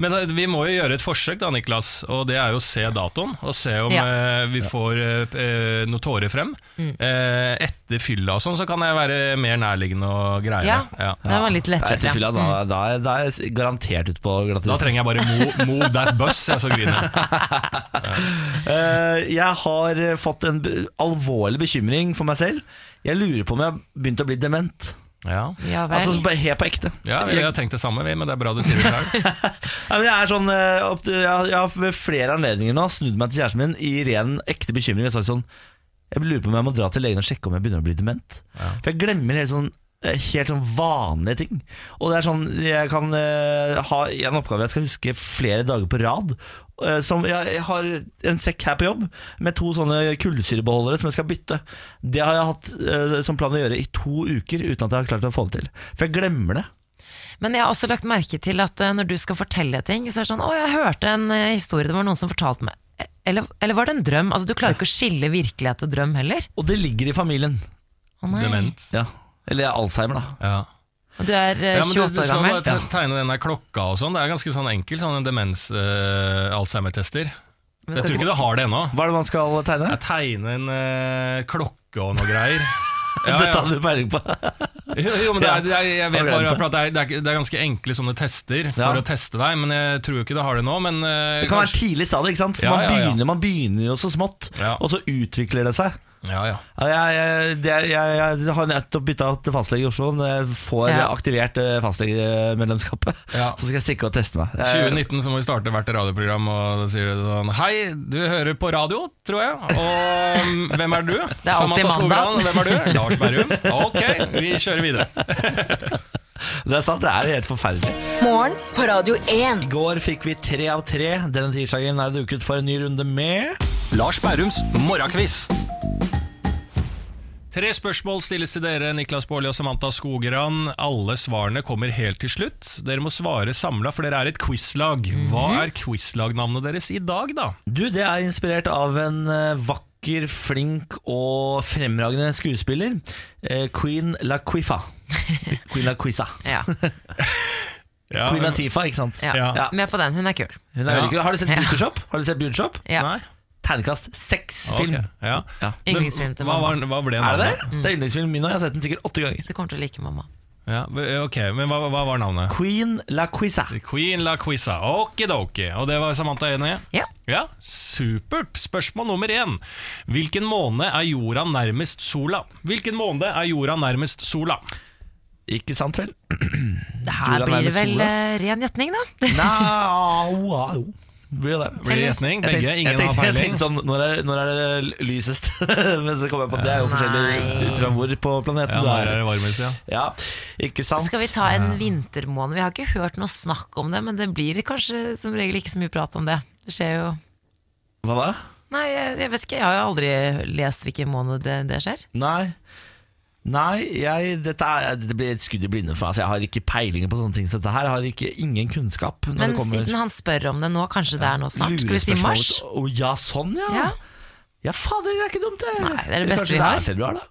Speaker 3: Men eh, vi må jo gjøre et forsøk, da, Niklas. Og det er jo å se datoen. Og se om eh, vi får eh, eh, noen tårer frem.
Speaker 4: Mm.
Speaker 3: Eh, etter fylla og sånn, så kan jeg være mer nærliggende og greie.
Speaker 4: Ja,
Speaker 3: Ja.
Speaker 4: den var litt
Speaker 2: Nei,
Speaker 4: lettrørt.
Speaker 2: Etter fylla, da, da, er- da er jeg garantert ute på
Speaker 3: Da
Speaker 2: glattisen.
Speaker 3: trenger jeg bare mo 'move that bus', jeg, så griner
Speaker 4: *laughs*
Speaker 3: jeg.
Speaker 2: Eh, jeg har eh, fått en be- alvorlig bekymring for meg selv. Jeg lurer på om jeg har begynt å bli dement.
Speaker 3: Ja.
Speaker 4: Ja, vel.
Speaker 2: Altså bare Helt på ekte.
Speaker 3: ja, vi har tenkt det samme, vi, men det er bra du sier det sjøl.
Speaker 2: Ja, men jeg, er sånn, eh, opp- jeg, jeg har ved flere anledninger nå snudd meg til kjæresten min i ren ekte bekymring. Jeg, har sagt sånn, jeg lurer på om jeg må dra til legen og sjekke om jeg begynner å bli dement. For jeg glemmer helt sånn eh, Helt sånn vanlige ting. Og det er sånn Jeg kan eh, ha en oppgave jeg skal huske flere dager på rad. eh, som jeg, jeg har en sekk her på jobb med to sånne kullsyrebeholdere som jeg skal bytte. Det har jeg hatt eh, som plan å gjøre i to uker uten at jeg har klart å få det til. For jeg glemmer det.
Speaker 4: Men jeg har også lagt merke til at eh, når du skal fortelle ting, så er det sånn 'Å, jeg hørte en eh, historie, det var noen som fortalte meg'. Eh, Eller, eller var det en drøm? Altså, du klarer ikke å skille virkelighet og drøm heller.
Speaker 2: Og det ligger i familien.
Speaker 4: Å, nei.
Speaker 3: Dement.
Speaker 2: Ja. Eller Alzheimer, da.
Speaker 3: Ja.
Speaker 4: Og du er eh,
Speaker 3: Ja, men
Speaker 4: 28
Speaker 3: du, du
Speaker 4: år
Speaker 3: skal
Speaker 4: gammel.
Speaker 3: bare te- tegne den der klokka og sånn. Det er ganske sånn enkel sånn demens-alzheimer-tester. jeg
Speaker 4: Men skal
Speaker 3: tror
Speaker 4: ikke-
Speaker 3: ikke du har det ennå.
Speaker 2: Hva er det man skal tegne?
Speaker 3: Jeg tegner en eh, klokke og noe
Speaker 4: *laughs*
Speaker 3: greier. *laughs* Ja,
Speaker 2: Dette
Speaker 3: ja.
Speaker 2: hadde du peiling på.
Speaker 3: Jo, jo, men det er, det er, jeg vet
Speaker 2: Har du
Speaker 3: bare
Speaker 2: glemt
Speaker 3: for at det er, det, er, det er ganske enkle sånne tester for
Speaker 2: Ja.
Speaker 3: å teste deg, men jeg tror jo ikke du har det nå. Men eh,
Speaker 2: Det kan være
Speaker 3: kanskje-
Speaker 2: tidlig stadie, ikke sant? For
Speaker 3: Ja,
Speaker 2: man,
Speaker 3: ja, ja.
Speaker 2: Begynner, man begynner jo så smått,
Speaker 3: Ja.
Speaker 2: og så utvikler det seg.
Speaker 3: Ja, ja.
Speaker 2: Ja, Jeg, jeg, det er- jeg, jeg har nettopp bytta til fastlege i Oslo. Når jeg får
Speaker 4: Ja.
Speaker 2: aktivert eh, fastlegemedlemskapet,
Speaker 3: Ja.
Speaker 2: så skal jeg stikke og teste meg. Jeg-
Speaker 3: 2019 så må vi starte hvert radioprogram, og da sier du sånn Hei, du hører på radio, tror jeg. Og um, hvem er du?
Speaker 4: er alltid
Speaker 3: Samantha Skogran,
Speaker 4: mandag.
Speaker 3: Hvem er du? Lars
Speaker 4: *laughs*
Speaker 3: Berrum. Ok, vi kjører videre.
Speaker 2: Det er sant, det er helt forferdelig.
Speaker 5: Morgen på Radio
Speaker 2: I
Speaker 5: 1.
Speaker 2: går fikk vi tre av tre. Denne tirsdagen er det duket for en ny runde med
Speaker 3: Lars Bærums morgenkviss. Tre spørsmål stilles til dere, Niklas Baarli og Samantha Skogran. Alle svarene kommer helt til slutt. Dere må svare samla, for dere er et quizlag. Hva er quizlagnavnet deres i dag, da?
Speaker 2: Du, det er inspirert av en eh, vakker, flink og fremragende skuespiller. Eh, Queen La
Speaker 3: *laughs*
Speaker 2: Quifa. Queen La Quisa.
Speaker 4: Ja,
Speaker 3: Ja,
Speaker 2: Queen Latifa, ikke sant?
Speaker 4: ja.
Speaker 3: Ja.
Speaker 4: Med på den, hun er kul.
Speaker 2: Hun er
Speaker 3: Ja.
Speaker 2: veldig kul. Har du sett Beauty Shop? Har du sett Beauty Shop?
Speaker 4: Ja.
Speaker 3: Nei?
Speaker 2: Ternekast seks
Speaker 3: Ok,
Speaker 2: film.
Speaker 3: Ja.
Speaker 2: Ja.
Speaker 3: Men
Speaker 4: Yndlingsfilm til
Speaker 3: hva,
Speaker 4: mamma.
Speaker 3: var, den- hva ble
Speaker 2: Er det
Speaker 3: navnet?
Speaker 2: det? Det er yndlingsfilmen min, og jeg har sett den sikkert åtte ganger.
Speaker 4: Du kommer til å like mamma.
Speaker 3: Ja, ok, men hva, hva var navnet?
Speaker 2: Queen La Quisa.
Speaker 3: Queen La Quiza. Okidoki. Og det var Samantha enig i?
Speaker 4: Ja.
Speaker 3: Ja, supert. Spørsmål nummer én. Hvilken måned er jorda nærmest sola? Hvilken måned er jorda nærmest sola?
Speaker 2: Ikke sant,
Speaker 3: *laughs*
Speaker 2: vel?
Speaker 4: Det
Speaker 2: Julian
Speaker 4: her
Speaker 2: er
Speaker 4: blir
Speaker 2: med
Speaker 4: vel
Speaker 2: sola.
Speaker 4: eh, ren gjetning, da. *laughs*
Speaker 2: Nja jo. Blir jo det.
Speaker 3: Blir det
Speaker 2: Jeg
Speaker 3: gjetning? Begge?
Speaker 2: tenkte, jeg
Speaker 3: Ingen har
Speaker 2: tenkte, jeg
Speaker 3: peiling?
Speaker 2: tenkte sånn, når er, når er det lysest? *laughs* Men så kom jeg på at det er jo forskjellig ut fra hvor på planeten
Speaker 3: Ja,
Speaker 2: du
Speaker 3: når
Speaker 2: er.
Speaker 3: er det varmest, ja.
Speaker 2: Ja, ikke sant?
Speaker 4: Skal vi ta en vintermåned? Vi har ikke hørt noe snakk om det, men det blir kanskje som regel ikke så mye prat om det. Det skjer jo
Speaker 2: Hva da?
Speaker 4: Nei, jeg, jeg vet ikke. Jeg har jo aldri lest hvilken måned det, det skjer.
Speaker 2: Nei. Nei, jeg, dette, er, dette blir et skudd i blinde for meg. Altså, jeg har ikke peiling på sånne ting. Så dette her har ikke, ingen kunnskap. Når
Speaker 4: Men
Speaker 2: det kommer
Speaker 4: siden han spør om det nå, kanskje det er nå snart? Skal vi si
Speaker 2: lurespørsmål.
Speaker 4: mars?
Speaker 2: Å ja, sånn ja. ja.
Speaker 4: Ja.
Speaker 2: fader, det er ikke dumt, det.
Speaker 4: Nei, det er det beste
Speaker 2: Kanskje
Speaker 4: vi
Speaker 2: det
Speaker 4: har.
Speaker 2: er februar, da.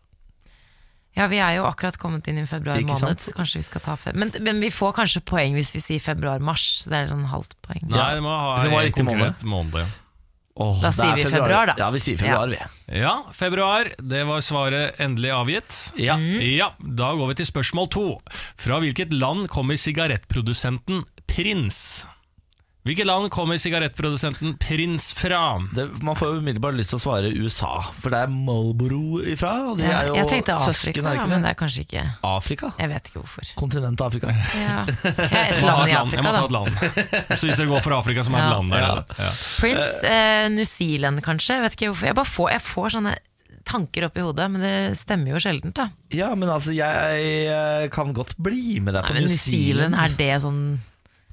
Speaker 4: Ja, vi er jo akkurat kommet inn i februar
Speaker 2: Ikke sant?
Speaker 4: måned, så kanskje vi skal ta feb... Men, men vi får kanskje poeng hvis vi sier februar-mars, så det er sånn halvt poeng.
Speaker 3: Nei, vi må ha
Speaker 2: Vi må ha
Speaker 3: en
Speaker 2: riktig
Speaker 3: konkret måned. ja.
Speaker 2: Åh,
Speaker 4: Da
Speaker 2: det
Speaker 4: sier
Speaker 2: er
Speaker 4: vi februar, da.
Speaker 2: Ja, vi sier februar, vi.
Speaker 3: Ja, februar. Det var svaret endelig avgitt.
Speaker 2: Ja.
Speaker 4: Mm.
Speaker 3: Ja, Da går vi til spørsmål to. Fra hvilket land kommer sigarettprodusenten Prins? Hvilket land kommer sigarettprodusenten Prins fra?
Speaker 2: Det, man får jo umiddelbart lyst til å svare USA, for det er Marlboro ifra. Og de
Speaker 4: Ja,
Speaker 2: er jo
Speaker 4: jeg tenkte
Speaker 2: søsken,
Speaker 4: Afrika,
Speaker 2: er
Speaker 4: ja,
Speaker 2: ikke
Speaker 4: men
Speaker 2: det?
Speaker 4: det er kanskje ikke
Speaker 2: Afrika?
Speaker 4: Jeg vet ikke hvorfor.
Speaker 2: Kontinentet Afrika.
Speaker 4: Ja. Ja, *laughs* et
Speaker 3: Jeg må ha
Speaker 4: land
Speaker 3: et land.
Speaker 4: i
Speaker 3: Jeg må
Speaker 4: Afrika,
Speaker 3: ta et
Speaker 4: da.
Speaker 3: land. Så hvis jeg går for Afrika, så må jeg ha et
Speaker 4: Ja.
Speaker 3: land der. da. Ja.
Speaker 4: Prince, eh, New Zealand kanskje. Jeg vet ikke hvorfor. Jeg bare får, jeg får sånne tanker opp i hodet, men det stemmer jo sjeldent, da.
Speaker 2: Ja, men altså, jeg eh, kan godt bli med deg
Speaker 4: Nei,
Speaker 2: på
Speaker 4: men New Zealand, er det sånn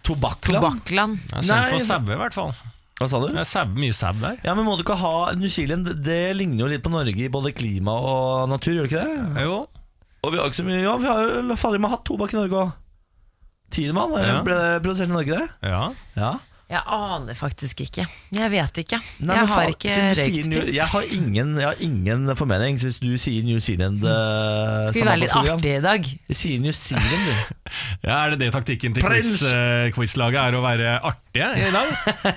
Speaker 2: Tobakkland?
Speaker 4: tobakkland?
Speaker 3: Det er sunt
Speaker 2: Nei,
Speaker 3: for
Speaker 2: men-
Speaker 3: sauer, i hvert fall.
Speaker 2: Hva sa du?
Speaker 3: Det er sau- mye sau der.
Speaker 2: Ja, men må du ikke ha New Zealand, det ligner jo litt på Norge i både klima og natur, gjør det ikke det?
Speaker 3: Jo.
Speaker 2: Og vi har ikke så mye Ja, vi har jo fader meg hatt tobakk i Norge òg. Tidemann eh,
Speaker 3: Ja.
Speaker 2: ble produsert i Norge, det.
Speaker 3: Ja.
Speaker 2: Ja.
Speaker 4: Jeg aner faktisk ikke. Jeg vet ikke.
Speaker 2: Nei, men
Speaker 4: jeg har
Speaker 2: faen,
Speaker 4: ikke
Speaker 2: siden du sier
Speaker 4: røykt
Speaker 2: New- Jeg
Speaker 4: prins.
Speaker 2: har ingen, jeg har ingen formening, så hvis du sier New Zealand eh,
Speaker 4: Mm. Skal vi være
Speaker 2: Samantha
Speaker 4: litt
Speaker 2: Skogran,
Speaker 4: artige i dag?
Speaker 2: Jeg sier New Zealand,
Speaker 4: *laughs*
Speaker 2: du.
Speaker 3: ja, Er det det taktikken til
Speaker 2: Prins!
Speaker 3: quiz, eh, quizlaget er å være artige i dag?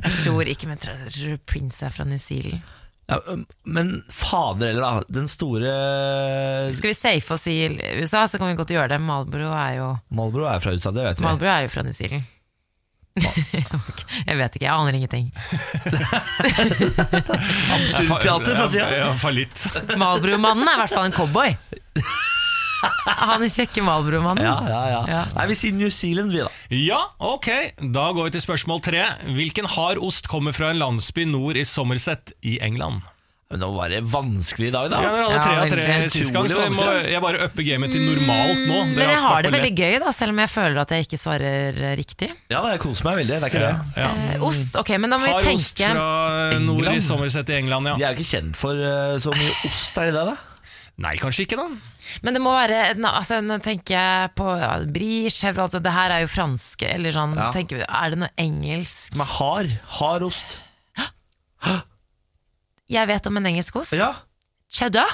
Speaker 3: *laughs*
Speaker 4: Jeg tror ikke men jeg tror Prince er fra New Zealand.
Speaker 2: Ja, um, men fader heller, da. Den store eh,
Speaker 4: Skal vi safe oss i USA, så kan vi godt gjøre det. Malboro er jo,
Speaker 2: Malbro er fra USA, det vet vi.
Speaker 4: Marlboro er jo fra New Zealand. Ok, *laughs* jeg vet ikke, jeg aner ingenting.
Speaker 2: Absurdteater fra sida.
Speaker 3: Ja, fallitt.
Speaker 4: Malboro-mannen er i hvert fall en cowboy. Han er kjekke Malboro-mannen.
Speaker 2: Ja, ja, ja,
Speaker 4: Ja.
Speaker 2: Nei, vi sier New Zealand, vi, da.
Speaker 3: Ja, ok. Da går vi til spørsmål tre. Hvilken hard ost kommer fra en landsby nord i Somerset i England?
Speaker 2: Men nå var det vanskelig i dag, da.
Speaker 3: Ja, Dere hadde
Speaker 4: Ja,
Speaker 3: tre av tre
Speaker 4: veldig. Mm,
Speaker 3: sist gang, så jeg, må,
Speaker 2: Utrolig
Speaker 3: jeg bare upper gamet til normalt nå. Dere
Speaker 4: Men jeg har det
Speaker 3: vært
Speaker 4: veldig gøy, da, selv om jeg føler at jeg ikke svarer eh, riktig.
Speaker 2: Ja, da, jeg koser meg veldig. Det er ikke det.
Speaker 3: Ja.
Speaker 4: Eh, ost, ok, men da må
Speaker 3: Hard
Speaker 4: vi
Speaker 3: ost
Speaker 4: tenke
Speaker 3: fra nord i
Speaker 2: England?
Speaker 3: Somerset i England,
Speaker 2: De
Speaker 3: ja.
Speaker 2: er jo ikke kjent for eh, så mye ost, er de det? da?
Speaker 3: Nei, kanskje ikke, da.
Speaker 4: Men det må være en- altså, Nå tenker jeg på ja, brie, chèvre altså, Det her er jo franske Eller sånn,
Speaker 2: Ja.
Speaker 4: tenker vi, er det noe engelsk?
Speaker 2: Som er hard. Hard ost.
Speaker 4: Jeg vet om en engelsk ost
Speaker 2: Ja.
Speaker 4: Cheddar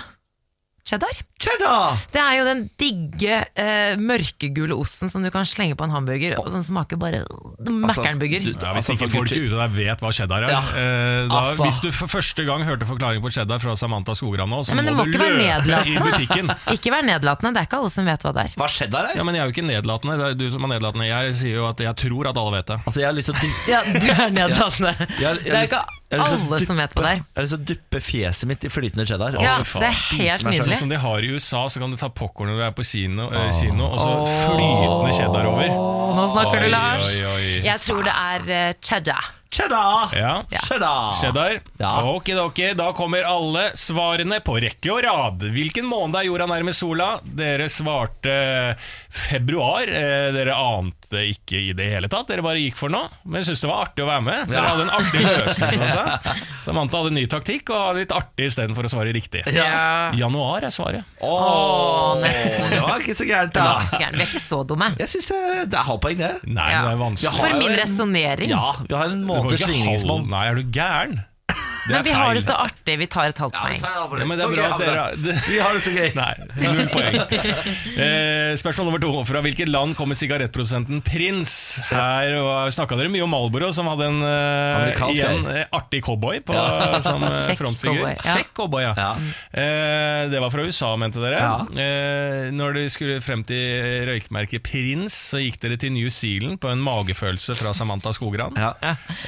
Speaker 4: Cheddar
Speaker 2: Cheddar!
Speaker 4: Det er jo den digge eh, mørkegule osten Som du kan slenge på en hamburger Og som smaker bare Mækkernburger
Speaker 2: du- *laughs*
Speaker 3: Ja, hvis
Speaker 2: Altså,
Speaker 3: ikke
Speaker 2: for
Speaker 3: folk
Speaker 2: Gucci.
Speaker 3: ute der vet hva cheddar er
Speaker 2: Ja,
Speaker 3: eh, da,
Speaker 2: altså.
Speaker 3: Hvis du for første gang hørte forklaring på cheddar fra Samantha Skogran nå, så
Speaker 4: Ja, men det
Speaker 3: må
Speaker 4: må
Speaker 3: du
Speaker 4: ikke være
Speaker 3: løpe i
Speaker 4: nedlatende.
Speaker 3: butikken.
Speaker 4: Ikke vær nedlatende, det er ikke alle som vet hva det er
Speaker 2: Hva cheddar er?
Speaker 3: Ja, men jeg er jo ikke nedlatende. Det er du som er nedlatende. Jeg sier jo at jeg tror at alle vet det.
Speaker 2: Altså, jeg har lyst til å dykke
Speaker 4: Ja, du er nedlatende
Speaker 2: jeg har, jeg
Speaker 4: Det
Speaker 2: har
Speaker 4: er
Speaker 2: lyst,
Speaker 4: ikke
Speaker 2: jeg Jeg har lyst til å
Speaker 4: Alle som vet på
Speaker 2: duppe-
Speaker 4: der.
Speaker 2: Jeg har lyst til å duppe fjeset mitt i flytende cheddar.
Speaker 4: Ja,
Speaker 2: Å, fy
Speaker 4: så
Speaker 2: faen.
Speaker 4: det er helt
Speaker 2: Spiser meg selv.
Speaker 4: nydelig.
Speaker 3: Sånn som de har i USA, så kan du ta popkorn når du er på kino, eh, kino og så flytende cheddar over.
Speaker 4: Nå snakker du,
Speaker 3: Oi,
Speaker 4: Lars.
Speaker 3: oi, oi.
Speaker 4: Jeg tror det er eh, cheddar.
Speaker 2: Cheddar!
Speaker 3: Ja.
Speaker 2: Cheddar!
Speaker 3: Cheddar.
Speaker 2: Ja.
Speaker 3: Okidoki, da kommer alle svarene på rekke og rad. Hvilken måned er jorda nærmest sola? Dere svarte februar. Eh, Dere ante ikke i det hele tatt. Dere bare gikk for noe. Men syntes det var artig å være med. Dere
Speaker 2: Ja.
Speaker 3: hadde en artig løsning. Altså. Samantha hadde en ny taktikk og hadde litt artig istedenfor å svare riktig.
Speaker 4: Ja.
Speaker 3: Januar er svaret.
Speaker 2: Åh,
Speaker 4: nesten.
Speaker 2: Det var ikke så gærent,
Speaker 4: Det var
Speaker 2: da.
Speaker 4: ikke så gærent. Vi er ikke så dumme.
Speaker 2: Jeg syns det er halvt poeng, det.
Speaker 3: Nei,
Speaker 4: Ja.
Speaker 3: men det er vanskelig.
Speaker 2: har
Speaker 4: For
Speaker 2: jo
Speaker 4: min
Speaker 2: en-
Speaker 4: resonnering.
Speaker 2: Ja, vi har en
Speaker 3: Du kan
Speaker 2: måneds
Speaker 3: ikke halv-
Speaker 2: ligningsmål.
Speaker 3: Nei, er du gæren? Det
Speaker 4: Men
Speaker 3: er
Speaker 4: vi har det
Speaker 3: feil.
Speaker 4: så artig. Vi tar et halvt poeng.
Speaker 3: Ja, men det er bra at dere
Speaker 2: Vi har det så gøy.
Speaker 3: Nei, null poeng. Eh, spørsmål nummer to. Fra hvilket land kommer sigarettprodusenten Prins? Her snakka dere mye om Malboro, som hadde en eh,
Speaker 2: Amerikansk
Speaker 3: igjen,
Speaker 2: her.
Speaker 3: eh, artig cowboy på, som eh,
Speaker 4: Kjekk
Speaker 3: frontfigur.
Speaker 4: cowboy, ja.
Speaker 3: Kjekk cowboy, ja.
Speaker 2: Ja.
Speaker 3: Eh, det var fra USA, mente dere.
Speaker 2: Ja.
Speaker 3: Eh, når dere skulle frem til røykmerket Prins, så gikk dere til New Zealand på en magefølelse fra Samantha Skogran.
Speaker 2: Ja.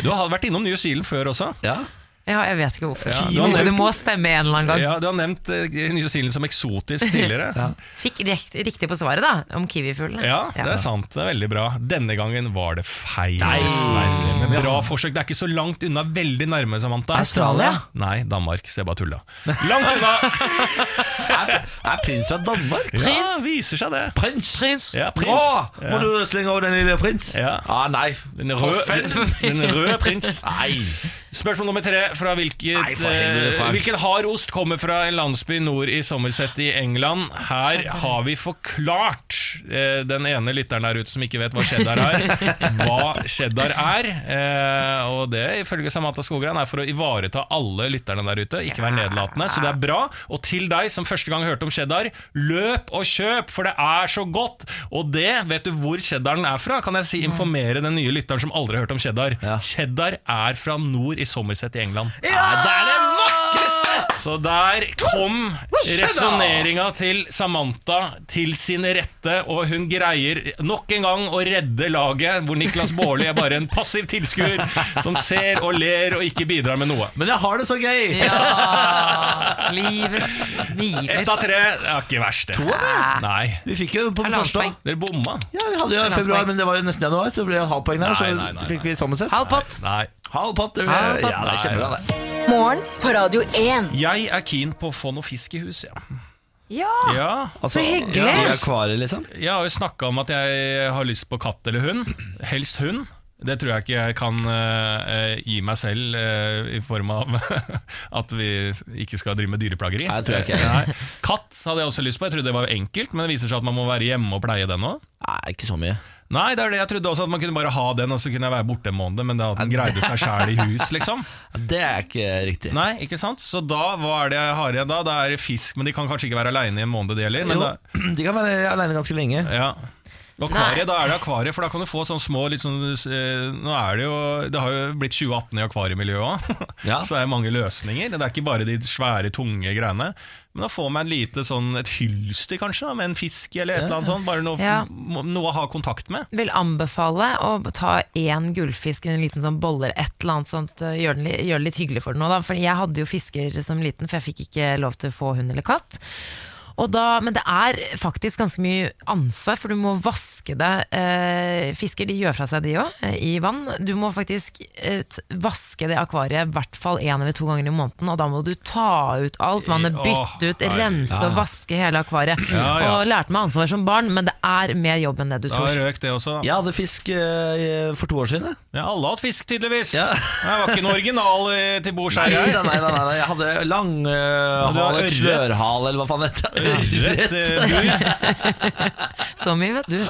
Speaker 3: Du har vært innom New Zealand før også.
Speaker 2: Ja.
Speaker 4: Ja, jeg vet ikke hvorfor.
Speaker 3: Ja,
Speaker 4: Men
Speaker 3: du har
Speaker 4: det
Speaker 3: nevnt-
Speaker 4: må stemme en eller annen gang.
Speaker 3: Ja, Du har nevnt eh, New Zealand som eksotisk tidligere.
Speaker 4: Fikk rekt, riktig på svaret, da, om kiwifuglene.
Speaker 3: Ja, det er sant. Det er veldig bra. Denne gangen var det feil.
Speaker 2: Nei.
Speaker 3: dessverre. Men bra forsøk. Det er ikke så langt unna. Veldig nærme, Samantha.
Speaker 4: Australia?
Speaker 3: Nei, Danmark. Så jeg bare tulla. Langt
Speaker 2: *laughs*
Speaker 3: unna!
Speaker 2: Er prins fra Danmark?
Speaker 3: Prins! Ja, viser seg det.
Speaker 2: Prins! prins.
Speaker 3: Ja, prins.
Speaker 2: Åh, må
Speaker 3: Ja.
Speaker 2: du slenge over den lille prins?
Speaker 3: Ja.
Speaker 2: Ah, nei.
Speaker 3: Den røde, den røde prins.
Speaker 2: Nei.
Speaker 3: Spørsmål nummer tre. Fra hvilket,
Speaker 2: Nei, for helvete,
Speaker 3: eh,
Speaker 2: Frank.
Speaker 3: hvilken hard ost kommer fra en landsby nord i Somerset i England? Her har vi forklart eh, den ene lytteren der ute som ikke vet hva
Speaker 2: *laughs*
Speaker 3: cheddar er, hva cheddar er. Eh, og det ifølge Samantha Skogran er for å ivareta alle lytterne der ute, ikke være nedlatende. Så det er bra. Og til deg som første gang hørte om cheddar, løp og kjøp, for det er så godt! Og det, vet du hvor cheddaren er fra? Kan jeg si informere den nye lytteren som aldri har hørt om cheddar?
Speaker 2: Mm. Ja.
Speaker 3: Cheddar er fra nord i Somerset i England.
Speaker 2: Ja, det er det vakreste!
Speaker 3: Så der kom resonneringa til Samantha til sin rette, og hun greier nok en gang å redde laget, hvor Niklas Baarli er bare en passiv tilskuer som ser og ler og ikke bidrar med noe.
Speaker 2: Men jeg har det så gøy!
Speaker 4: Ja, Livet
Speaker 3: Ett
Speaker 4: smiler.
Speaker 3: av tre er ikke verst. det.
Speaker 4: av tre?
Speaker 3: Nei.
Speaker 2: Vi fikk jo på den
Speaker 4: Er det
Speaker 2: første.
Speaker 4: halvt
Speaker 3: Dere bomma.
Speaker 2: Ja, vi hadde jo februar, men det var jo nesten januar, så det ble jo halvt poeng der. Så
Speaker 3: Nei, nei, nei,
Speaker 2: fikk vi sammensett.
Speaker 4: Halv pott.
Speaker 3: Nei.
Speaker 2: Halv pott. det ble-
Speaker 4: Halv pott.
Speaker 2: Ja, det er kjempebra, det.
Speaker 5: Morgen på Radio 1.
Speaker 3: Jeg er keen på å få noe fisk i huset. Ja.
Speaker 4: Ja,
Speaker 3: Ja.
Speaker 2: Altså,
Speaker 4: Så hyggelig.
Speaker 2: I akvariet, liksom.
Speaker 3: Jeg har jo snakka om at jeg har lyst på katt eller hund. Helst hund. Det tror jeg ikke jeg kan eh, eh, gi meg selv eh, i form av *laughs* at vi ikke skal drive med dyreplageri.
Speaker 2: Nei, det tror jeg ikke.
Speaker 3: Nei. Katt hadde jeg også lyst på. Jeg trodde det var enkelt, men det viser seg at man må være hjemme og pleie den òg.
Speaker 2: Nei, ikke så mye.
Speaker 3: Nei, det er det. jeg trodde også at man kunne bare ha den, og så kunne jeg være borte en måned, men det at den greide seg sjæl i hus, liksom.
Speaker 2: Det er ikke riktig.
Speaker 3: Nei, ikke sant? Så da, hva er det jeg har igjen da? Da er det fisk, men de kan kanskje ikke være aleine i en måned, de heller. Men
Speaker 2: Jo,
Speaker 3: da,
Speaker 2: *clears throat* de kan være aleine ganske lenge.
Speaker 3: Ja
Speaker 4: Nei.
Speaker 3: Akvariet, Da er det akvariet, for da kan du få sånne små litt sånn, eh, Nå er Det jo Det har jo blitt 2018 i akvariemiljøet òg,
Speaker 2: Ja.
Speaker 3: *laughs* så det er mange løsninger. Det er ikke bare de svære, tunge greiene. Men da får man en lite sånn, et hylster, kanskje, da, med en fisk eller et eller annet sånt. Bare noe,
Speaker 4: Ja.
Speaker 3: må- noe å ha kontakt med.
Speaker 4: vil anbefale å ta én gullfisk i en liten sånn boller, et eller annet sånt. øh, Gjør, den, li- gjør det litt hyggelig for den òg, da. For jeg hadde jo fisker som liten, for jeg fikk ikke lov til å få hund eller katt. Og da, men det er faktisk ganske mye ansvar, for du må vaske det. Eh, fisker de gjør fra seg, de òg, eh, i vann. Du må faktisk eh, t- vaske det akvariet i hvert fall én eller to ganger i måneden. Og da må du ta ut alt vannet,
Speaker 3: Åh,
Speaker 4: bytte ut,
Speaker 3: herregud.
Speaker 4: rense og vaske hele akvariet.
Speaker 3: Ja, ja.
Speaker 4: Og lærte meg ansvar som barn, men det er mer jobb enn det du
Speaker 3: Da
Speaker 4: tror.
Speaker 3: røk det også. Ja.
Speaker 2: Jeg hadde fisk eh, for to år siden. jeg.
Speaker 3: alle har hatt fisk, tydeligvis.
Speaker 2: Ja.
Speaker 3: Jeg var ikke noe original eh, til bords her.
Speaker 2: Nei,
Speaker 3: jeg.
Speaker 2: *laughs* nei, nei, nei, nei. Jeg hadde
Speaker 3: Og du har
Speaker 2: langhale,
Speaker 3: ørret.
Speaker 2: slørhale, eller hva faen det *laughs* heter.
Speaker 3: Rett, eh, bur.
Speaker 4: Så mye vet du.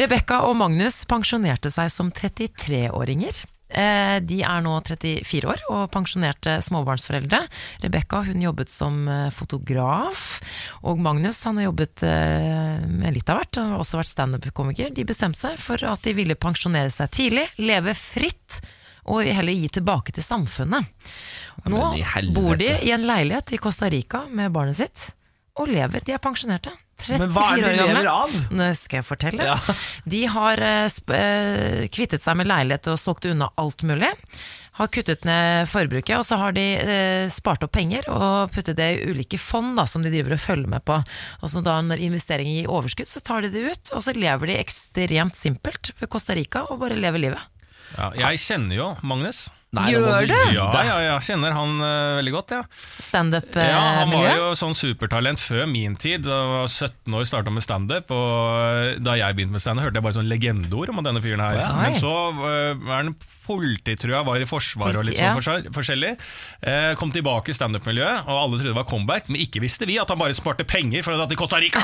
Speaker 4: Rebekka og Magnus pensjonerte seg som 33-åringer. Eh, De er nå 34 år og pensjonerte småbarnsforeldre. Rebekka hun jobbet som eh, fotograf, og Magnus han har jobbet eh, med litt av hvert. Han har også vært standup-komiker. De bestemte seg for at de ville pensjonere seg tidlig, leve fritt, og heller gi tilbake til samfunnet. Nå
Speaker 2: men i helvete.
Speaker 4: bor de i en leilighet i Costa Rica med barnet sitt, og lever. De er pensjonerte. 34
Speaker 2: Men hva er det
Speaker 4: år
Speaker 2: de
Speaker 4: gamle.
Speaker 2: lever av?
Speaker 4: Nå skal jeg fortelle. De har eh, sp eh, kvittet seg med leilighet og solgt unna alt mulig. har kuttet ned forbruket, og så har de eh, spart opp penger og puttet det i ulike fond da, som de driver og følger med på. Og så da når investeringer gir overskudd, så tar de det ut, og så lever de ekstremt simpelt ved Costa Rica og bare lever livet.
Speaker 3: Ja, jeg kjenner jo Magnus.
Speaker 2: nå må
Speaker 4: Gjør
Speaker 2: du
Speaker 4: du?
Speaker 2: gi
Speaker 3: Ja,
Speaker 2: deg.
Speaker 3: ja, jeg kjenner han eh, veldig godt, ja. Ja,
Speaker 4: eh,
Speaker 3: han var
Speaker 4: Standup-miljø.
Speaker 3: jo sånn supertalent før min tid. Da jeg var 17 år starta med standup. Og eh, da jeg begynte med standup, hørte jeg bare sånn legendeord om denne fyren her.
Speaker 4: ja.
Speaker 3: Men så øh, er han politi, tror jeg, var i Forsvaret og litt
Speaker 4: Politi, ja.
Speaker 3: sånn forskjell- forskjellig. Eh, kom tilbake i standup-miljøet, og alle trodde det var comeback, men ikke visste vi at han bare sparte penger for å dra til Costa
Speaker 4: *laughs*
Speaker 3: Rica!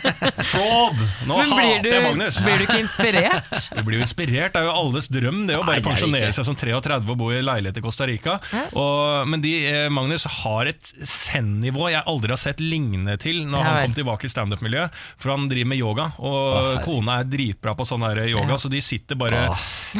Speaker 3: Fraud! Nå
Speaker 4: Men blir
Speaker 3: hater
Speaker 4: du,
Speaker 3: jeg Magnus!
Speaker 4: blir du ikke inspirert?
Speaker 3: Du blir jo inspirert, det er jo alles drøm det å bare pensjonere seg som 33 og bo i leilighet i Costa Rica. Og, men de, eh, Magnus har et zen-nivå jeg aldri har sett lignende til når
Speaker 4: Ja
Speaker 3: han
Speaker 4: vel.
Speaker 3: kom tilbake i standup-miljøet, for han driver med yoga, og kona er dritbra på sånn her yoga,
Speaker 4: Ja.
Speaker 3: så de sitter bare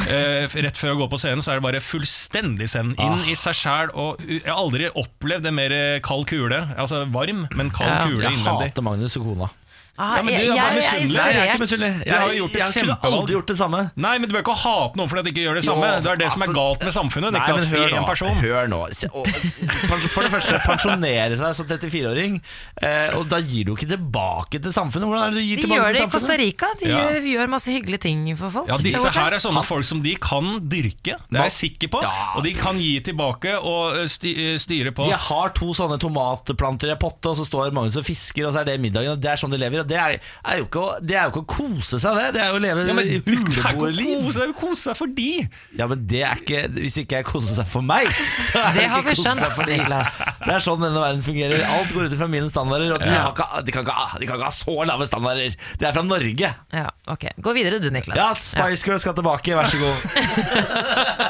Speaker 3: eh, Rett før å gå på scenen, så er det bare fullstendig zen inn i seg sjæl, og u- jeg har aldri opplevd en mer eh, kald kule, altså varm, men kald
Speaker 4: Ja.
Speaker 3: kule
Speaker 2: Jeg
Speaker 3: innvendig.
Speaker 2: hater Magnus og kona.
Speaker 4: Ah,
Speaker 3: Ja, men du
Speaker 4: jeg,
Speaker 3: er bare
Speaker 4: jeg, er
Speaker 3: misunnelig.
Speaker 2: Nei, jeg er ikke
Speaker 4: inspirert.
Speaker 2: misunnelig.
Speaker 3: Du har
Speaker 2: Jeg,
Speaker 3: jo gjort et
Speaker 2: jeg kunne
Speaker 3: kjempevalg.
Speaker 2: aldri gjort det samme.
Speaker 3: Nei, men du bør ikke hate noen fordi at de ikke gjør det samme.
Speaker 2: Jo,
Speaker 3: det er det som er
Speaker 2: altså,
Speaker 3: galt med samfunnet.
Speaker 2: Nei, men
Speaker 3: Niklas,
Speaker 2: hør
Speaker 3: si
Speaker 2: nå,
Speaker 3: en person.
Speaker 2: Hør nå. Se- og- For det første, pensjonere seg som 34-åring, eh, og da gir du ikke tilbake til samfunnet. Hvordan er det du gir
Speaker 4: De
Speaker 2: tilbake
Speaker 4: gjør
Speaker 2: til
Speaker 4: det i Costa
Speaker 2: samfunnet?
Speaker 4: Rica. De
Speaker 3: Ja.
Speaker 4: gjør, gjør masse hyggelige ting for folk.
Speaker 3: Ja, Disse
Speaker 4: der borte.
Speaker 3: her er sånne folk som de kan dyrke, det er jeg sikker på.
Speaker 2: Ja.
Speaker 3: Og de kan gi tilbake og ø, sty ø, styre på.
Speaker 2: Jeg har to sånne tomatplanter i en potte, og så står mange som fisker, og så er det middagen, og det er sånn de lever. Og det er, er jo ikke å, det er jo ikke å kose seg, det. Det er jo å leve
Speaker 3: Ja, men
Speaker 2: i
Speaker 3: du kan ikke
Speaker 2: huleboerliv.
Speaker 3: kose deg, kose seg for de!
Speaker 2: Ja, men det er ikke Hvis ikke jeg koser seg for meg, så er det,
Speaker 4: Det har vi
Speaker 2: ikke kose seg
Speaker 4: skjønt,
Speaker 2: for de.
Speaker 4: Niklas.
Speaker 2: Det er sånn denne verden fungerer. Alt går ut fra mine standarder, og de, har ikke, de, kan ikke, ha- de kan ikke ha så lave standarder. Det er fra Norge.
Speaker 4: Ja, ok. Gå videre du, Niklas.
Speaker 2: Ja, Spice Girls skal tilbake, vær så god.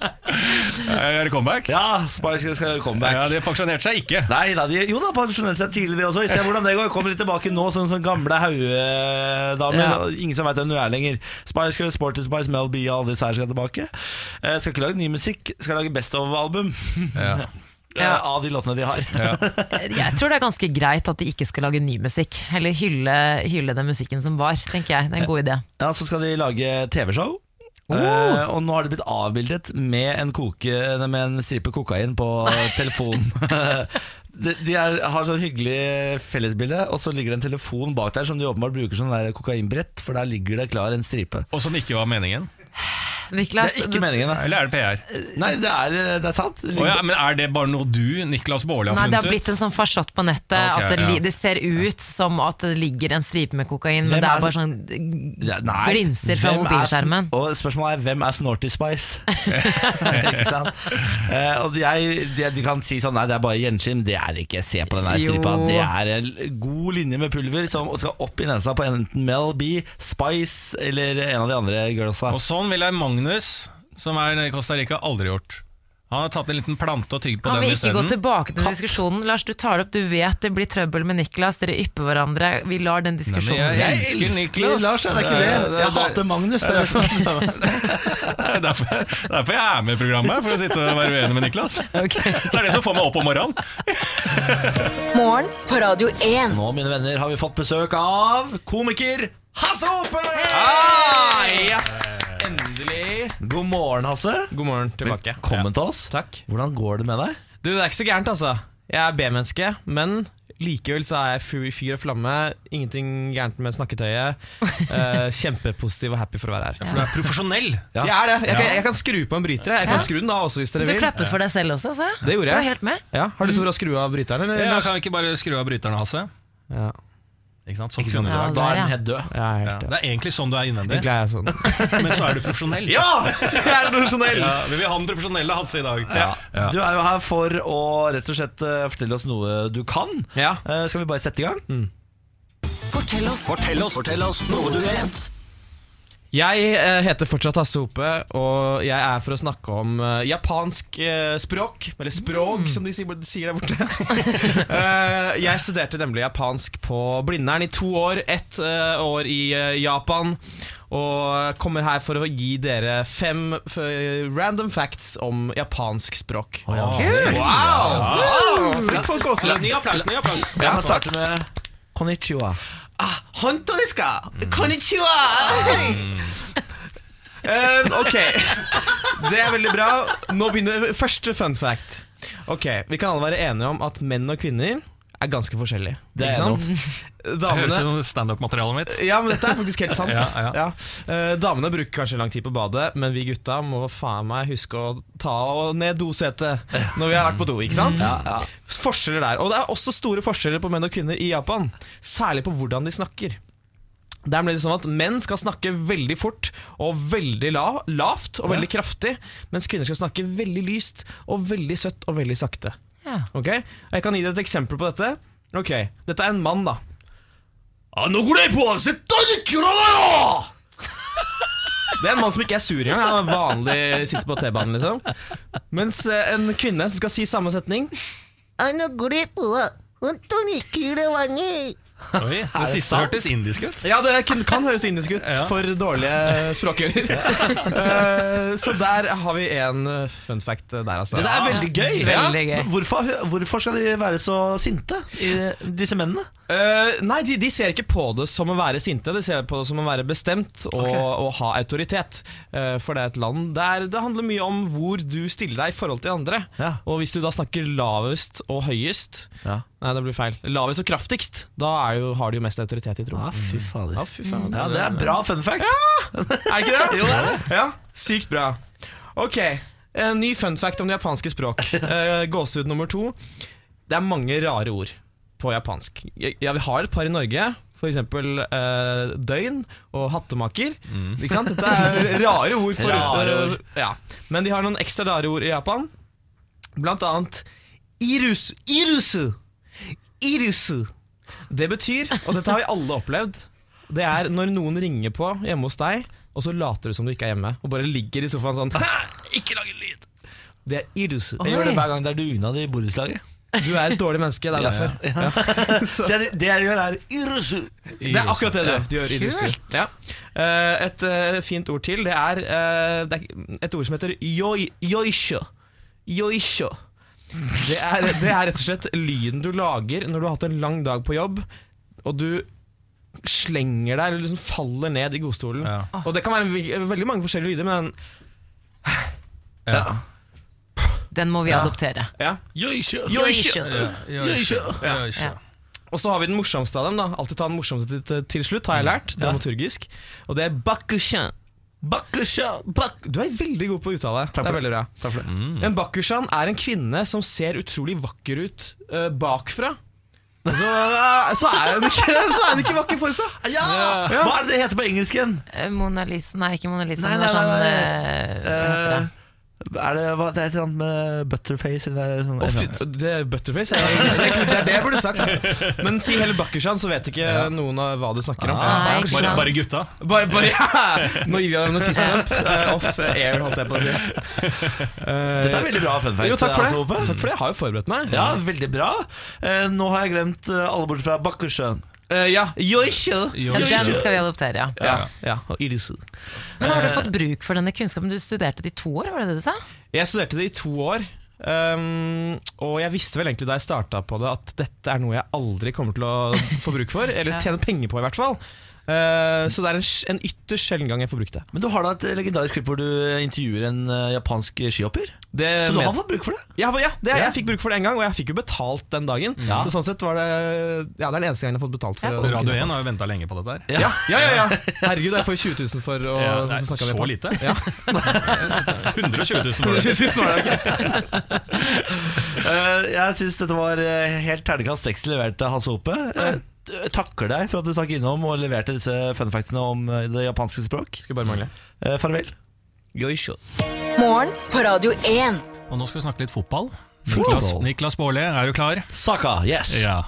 Speaker 3: Er det comeback?
Speaker 2: Ja, Spice Girls skal gjøre comeback.
Speaker 3: Ja, det pensjonerte seg ikke.
Speaker 2: Nei da, de, jo da, pensjonerte seg tidlig de også. Vi ser hvordan det går. Kommer de tilbake nå som sånn gamle haugedamer?
Speaker 4: Ja.
Speaker 2: og Ingen som veit hvem du er lenger. Spice Girls, Sporty Spice, Mel B og alle disse her skal tilbake. Eh, skal ikke lage ny musikk, skal lage Best of-album
Speaker 3: Ja.
Speaker 2: *laughs* eh, av de låtene de har.
Speaker 4: Jeg tror det er ganske greit at de ikke skal lage ny musikk. Heller hylle, hylle den musikken som var, tenker jeg. Det er en god idé.
Speaker 2: Ja, så skal de lage TV-show.
Speaker 4: Oh.
Speaker 2: Eh, og nå har det blitt avbildet med en, koke, med en stripe kokain på *laughs* telefonen. de de er, har sånn hyggelig fellesbilde, og så ligger det en telefon bak der som de åpenbart bruker som der kokainbrett, for der ligger det klar en stripe.
Speaker 3: Og som ikke var meningen.
Speaker 2: Det
Speaker 4: Niklas,
Speaker 2: er
Speaker 4: du-
Speaker 2: ikke meningen, da.
Speaker 3: Eller er det PR?
Speaker 2: Nei, det er, eh, det er sant. Det
Speaker 3: Å ja,
Speaker 2: ligger-
Speaker 3: men Er det bare noe du, Niklas Baarli, har
Speaker 4: Nei, det har
Speaker 3: funnet
Speaker 4: blitt
Speaker 3: ut?
Speaker 4: en sånn farsott på nettet.
Speaker 3: Ok,
Speaker 4: at det, li-
Speaker 3: ja.
Speaker 4: det ser ut som at det ligger en stripe med
Speaker 2: Hvem
Speaker 4: kokain, men det
Speaker 2: er
Speaker 4: er bare
Speaker 2: så-
Speaker 4: sånn
Speaker 2: Ja,
Speaker 4: det
Speaker 2: nei.
Speaker 4: glinser fra
Speaker 2: Hvem er sn-
Speaker 4: mobilskjermen.
Speaker 2: Og spørsmålet er hvem er Snorty Spice?
Speaker 4: *laughs*
Speaker 2: ikke sant? Eh, og jeg, de, de kan si sånn nei, det er bare gjenskinn. Det er det ikke. Se på den der
Speaker 4: Jo.
Speaker 2: stripa. Det er en god linje med pulver som skal opp i nesa på enten Mel B, Spice eller en av de andre girlsa.
Speaker 3: Og sånn ville Magnus, som er nede i Costa Rica, aldri gjort. Han har tatt en liten plante og tygd på
Speaker 4: Kan vi
Speaker 3: den
Speaker 4: ikke gå
Speaker 3: isteden.
Speaker 4: tilbake til diskusjonen? Lars, du tar det opp. Du vet det blir trøbbel med Niklas. Dere ypper hverandre. Vi lar den diskusjonen
Speaker 3: jeg-
Speaker 4: ligge.
Speaker 3: jeg elsker Niklas.
Speaker 2: Lars, er det ikke
Speaker 3: Ja, ja,
Speaker 2: det?
Speaker 3: det-
Speaker 2: Jeg hater Magnus. Det er det som
Speaker 3: Det er derfor, derfor jeg er med i programmet, for å sitte og være uenig med Niklas.
Speaker 4: *laughs* Ok.
Speaker 3: Det er det som får meg opp om morgenen.
Speaker 5: Morgen på Radio 1.
Speaker 2: *laughs* Nå, mine venner, har vi fått besøk av komiker Hasse Hope!
Speaker 7: Ah, yes! Endelig.
Speaker 2: God morgen, Hasse.
Speaker 7: God morgen tilbake.
Speaker 2: Velkommen til oss.
Speaker 7: Takk.
Speaker 2: Hvordan går det med deg?
Speaker 7: Du, Det er ikke så gærent, altså. Jeg er B-menneske, men likevel så er jeg fyr, fyr og flamme. Ingenting gærent med snakketøyet. Eh, kjempepositiv og happy for å være her.
Speaker 3: For du er profesjonell.
Speaker 2: Ja.
Speaker 7: Jeg er det. Jeg kan, jeg kan skru på en bryter. Jeg. jeg kan skru den av også, hvis dere
Speaker 4: Du
Speaker 7: vil.
Speaker 4: klappet for deg selv også, sa jeg.
Speaker 7: Det gjorde
Speaker 4: Du var
Speaker 7: jeg.
Speaker 4: helt med.
Speaker 7: Ja, Har du lyst til å skru av bryteren? Eller?
Speaker 3: Ja,
Speaker 7: Lars?
Speaker 3: kan vi ikke bare skru av bryterne, Hasse?
Speaker 7: Ja.
Speaker 3: Ikke sant? Sånn
Speaker 2: Ikke
Speaker 3: kunne
Speaker 2: sant?
Speaker 3: det vært.
Speaker 2: Da
Speaker 4: der,
Speaker 2: er
Speaker 4: ja.
Speaker 2: den helt død.
Speaker 7: Jeg er
Speaker 3: Ja.
Speaker 7: helt
Speaker 3: Det er egentlig sånn du er innvendig,
Speaker 7: Egentlig er jeg sånn.
Speaker 3: men så er du profesjonell.
Speaker 7: Jeg er profesjonell!
Speaker 3: Ja, vi vil ha den profesjonelle Hasse i dag. Ja.
Speaker 2: Du er jo her for å rett og slett eh, fortelle oss noe du kan.
Speaker 7: Ja.
Speaker 2: Eh, Skal vi bare sette i gang?
Speaker 4: Fortell oss.
Speaker 7: Jeg eh, heter fortsatt Hasse Hope, og jeg er for å snakke om eh, japansk eh, språk. Eller språk, som de sier, de sier der borte. *laughs* Eh, jeg studerte nemlig japansk på Blindern i to år. Ett eh, år i eh, Japan. Og kommer her for å gi dere fem f random facts om japansk språk.
Speaker 3: Kult.
Speaker 7: Wow! wow! Fikk folk
Speaker 3: Ja.
Speaker 7: gåsehud.
Speaker 3: Ny applaus, ny applaus.
Speaker 2: Vi kan starte med
Speaker 7: Ah,
Speaker 2: Konnichiwa. Mm.
Speaker 7: Honto desu ka? Konnichiwa! Eh,
Speaker 2: *laughs*
Speaker 7: ok, det er veldig bra. Nå begynner Første fun fact. Ok, Vi kan alle være enige om at menn og kvinner er ganske forskjellige.
Speaker 2: Det er
Speaker 7: ikke sant?
Speaker 3: Høres
Speaker 7: Damene
Speaker 3: ut som standup-materialet mitt.
Speaker 7: ja, men dette er faktisk helt sant.
Speaker 3: Ja, ja.
Speaker 7: Eh, damene bruker kanskje lang tid på badet, men vi gutta må faen meg huske å ta og ned dosetet når vi har vært på do. ikke sant? Forskjeller der. Og det er også store forskjeller på menn og kvinner i Japan. Særlig på hvordan de snakker. Der ble det sånn at Menn skal snakke veldig fort og veldig la lavt og veldig kraftig, mens kvinner skal snakke veldig lyst og veldig søtt og veldig sakte.
Speaker 4: Ja.
Speaker 7: Ok? Og Jeg kan gi deg et eksempel på dette. Ok, Dette er en mann, da. Ah, Det er en mann som ikke er sur engang. Han er vanlig sitter på T-banen, liksom. Mens eh, en kvinne som skal si samme setning
Speaker 3: Oi, det siste hørtes indisk ut.
Speaker 7: Ja, det kan, kan høres indisk ut for dårlige språkører. Eh, så der har vi en eh, fun fact der, altså.
Speaker 2: Det er veldig gøy!
Speaker 4: Veldig gøy.
Speaker 2: Men Hvorfor, hvorfor skal de være så sinte, i disse mennene?
Speaker 7: Eh, nei, de, de ser ikke på det som å være sinte. De ser på det som å være bestemt og,
Speaker 2: Ok.
Speaker 7: og ha autoritet. Eh, for det er et land der det handler mye om hvor du stiller deg i forhold til andre.
Speaker 2: Ja.
Speaker 7: Og hvis du da snakker lavest og høyest
Speaker 2: Ja.
Speaker 7: Nei, det blir feil. Lavest og kraftigst. Da er jo, har du jo mest autoritet i
Speaker 2: Ja,
Speaker 7: troen.
Speaker 2: Ah, fy fader.
Speaker 7: Ja, fy faen.
Speaker 2: Ja, det er bra fun fact.
Speaker 7: Er det ikke det?
Speaker 2: Jo, det er det.
Speaker 7: Ja, sykt bra. Ok, en ny fun fact om det japanske
Speaker 2: *laughs*
Speaker 7: språk. Eh, Gåsehud nummer to. Det er mange rare ord på japansk. Jeg, jeg har et par i Norge. For eksempel eh, døgn og hattemaker. Ikke sant? Dette
Speaker 2: *laughs*
Speaker 7: er rare ord. For,
Speaker 2: Mm. Rare ord.
Speaker 7: eh, ja. Men de har noen ekstra rare ord i Japan. Blant annet irus, irusu. Irusu. Det betyr, og dette har vi alle opplevd, det er når noen ringer på hjemme hos deg, og så later du som du ikke er hjemme, og bare ligger i sofaen sånn *laughs* Ikke lag en lyd! Det er irusu.
Speaker 2: Jeg gjør det hver gang det er dugnad i borettslaget.
Speaker 7: Du er et dårlig menneske, det er derfor.
Speaker 2: Så jeg, det jeg gjør, er irusu.
Speaker 7: Det er akkurat det du gjør. Du gjør irusu. Ja. Eh, Et eh, fint ord til, det er, eh, det er et ord som heter yoi, yoisho. Yoisho. Det er, det er rett og slett lyden du lager når du har hatt en lang dag på jobb, og du slenger deg, eller liksom faller ned i godstolen.
Speaker 3: Ja.
Speaker 7: Og det kan være ve- veldig mange forskjellige lyder, men
Speaker 3: Ja.
Speaker 4: Den må vi adoptere.
Speaker 7: ja.
Speaker 2: Yoisho.
Speaker 7: Yoisho.
Speaker 3: Ja, ja, ja.
Speaker 4: Ja.
Speaker 7: Og så har vi den morsomste av dem, da. Alltid ta den morsomste til, til slutt, har jeg lært, dramaturgisk. Og det er bakushan.
Speaker 2: Bakusha.
Speaker 7: Bak du er veldig god på å uttale. Det er veldig bra. En bakushan er en kvinne som ser utrolig vakker ut eh, bakfra. Og Så, så, er hun ikke, *laughs* så er hun ikke vakker forfra.
Speaker 2: Ja! Hva er det det heter på engelsk igjen?
Speaker 4: Eh, Mona Lisa, nei ikke Mona Lisa,
Speaker 2: Nei,
Speaker 4: men det er
Speaker 2: nei, nei,
Speaker 4: sånn eh, hva heter det?
Speaker 2: Eh, Er det, hva, det er et eller annet med butterface eller det er sånn,
Speaker 7: Å, fy, det er butterface. er- Det er, det er det jeg burde sagt. Altså. Men si heller bakushan, så vet ikke noen av hva du snakker om.
Speaker 4: Nei, ikke
Speaker 3: Bare,
Speaker 4: sant?
Speaker 3: bare gutta.
Speaker 7: Bare, bare ja! Nå gir vi hverandre fistbump. eh, off air, holdt jeg på å si. Eh,
Speaker 2: Dette er veldig bra fun fact.
Speaker 7: Jo, takk for det.
Speaker 2: altså, Hoppe.
Speaker 7: Takk for det, Jeg har jo forberedt meg.
Speaker 2: Ja, veldig bra. Eh, nå har jeg glemt eh, alle bortsett fra Bakkersjøen.
Speaker 7: Eh, ja. Yoisho.
Speaker 4: Ja, den skal vi adoptere, ja. Eh,
Speaker 7: Ja, ja. og Irisu.
Speaker 4: Men har du fått bruk for denne kunnskapen? Du studerte det i to år, var det det du sa?
Speaker 7: Jeg studerte det i to år. ehm, og jeg visste vel egentlig da jeg starta på det, at dette er noe jeg aldri kommer til å få bruk for. Eller tjene penger på, i hvert fall. Eh, så det er en, sj- en ytterst sjelden gang jeg får brukt det.
Speaker 2: Men du har da et legendarisk klipp hvor du intervjuer en eh, japansk skihopper.
Speaker 7: det
Speaker 2: Så du
Speaker 7: men-
Speaker 2: har fått bruk for det?
Speaker 7: Ja, ja det,
Speaker 2: Ja.
Speaker 7: jeg fikk bruk for det en gang, og jeg fikk jo betalt den dagen.
Speaker 2: Ja.
Speaker 7: Så sånn sett var det Ja, det er den eneste gangen jeg har fått betalt for
Speaker 4: Ja.
Speaker 7: å-
Speaker 3: Radio 1 har jo venta lenge på dette her.
Speaker 7: Ja, ja, ja, ja. Herregud, jeg får 20 000 for å
Speaker 3: Ja, det er
Speaker 7: snakke
Speaker 3: så
Speaker 7: om det.
Speaker 3: lite. *laughs*
Speaker 7: Ja.
Speaker 3: 120 000 *laughs* for det.
Speaker 7: 20 000 var det, ok.
Speaker 2: Eh, jeg syns dette var eh, helt terningkast seks levert av Hasse Hope. Eh, takker deg for at du stakk innom og leverte disse fun factsene om eh, det japanske språk.
Speaker 7: Skulle bare mangle.
Speaker 2: Eh, farvel.
Speaker 7: Yoisho.
Speaker 5: Morgen på Radio 1.
Speaker 3: Og nå skal vi snakke litt fotball.
Speaker 2: Fotball.
Speaker 3: Niklas, Niklas Baarli, er du klar?
Speaker 2: Saka, yes!
Speaker 3: Ja.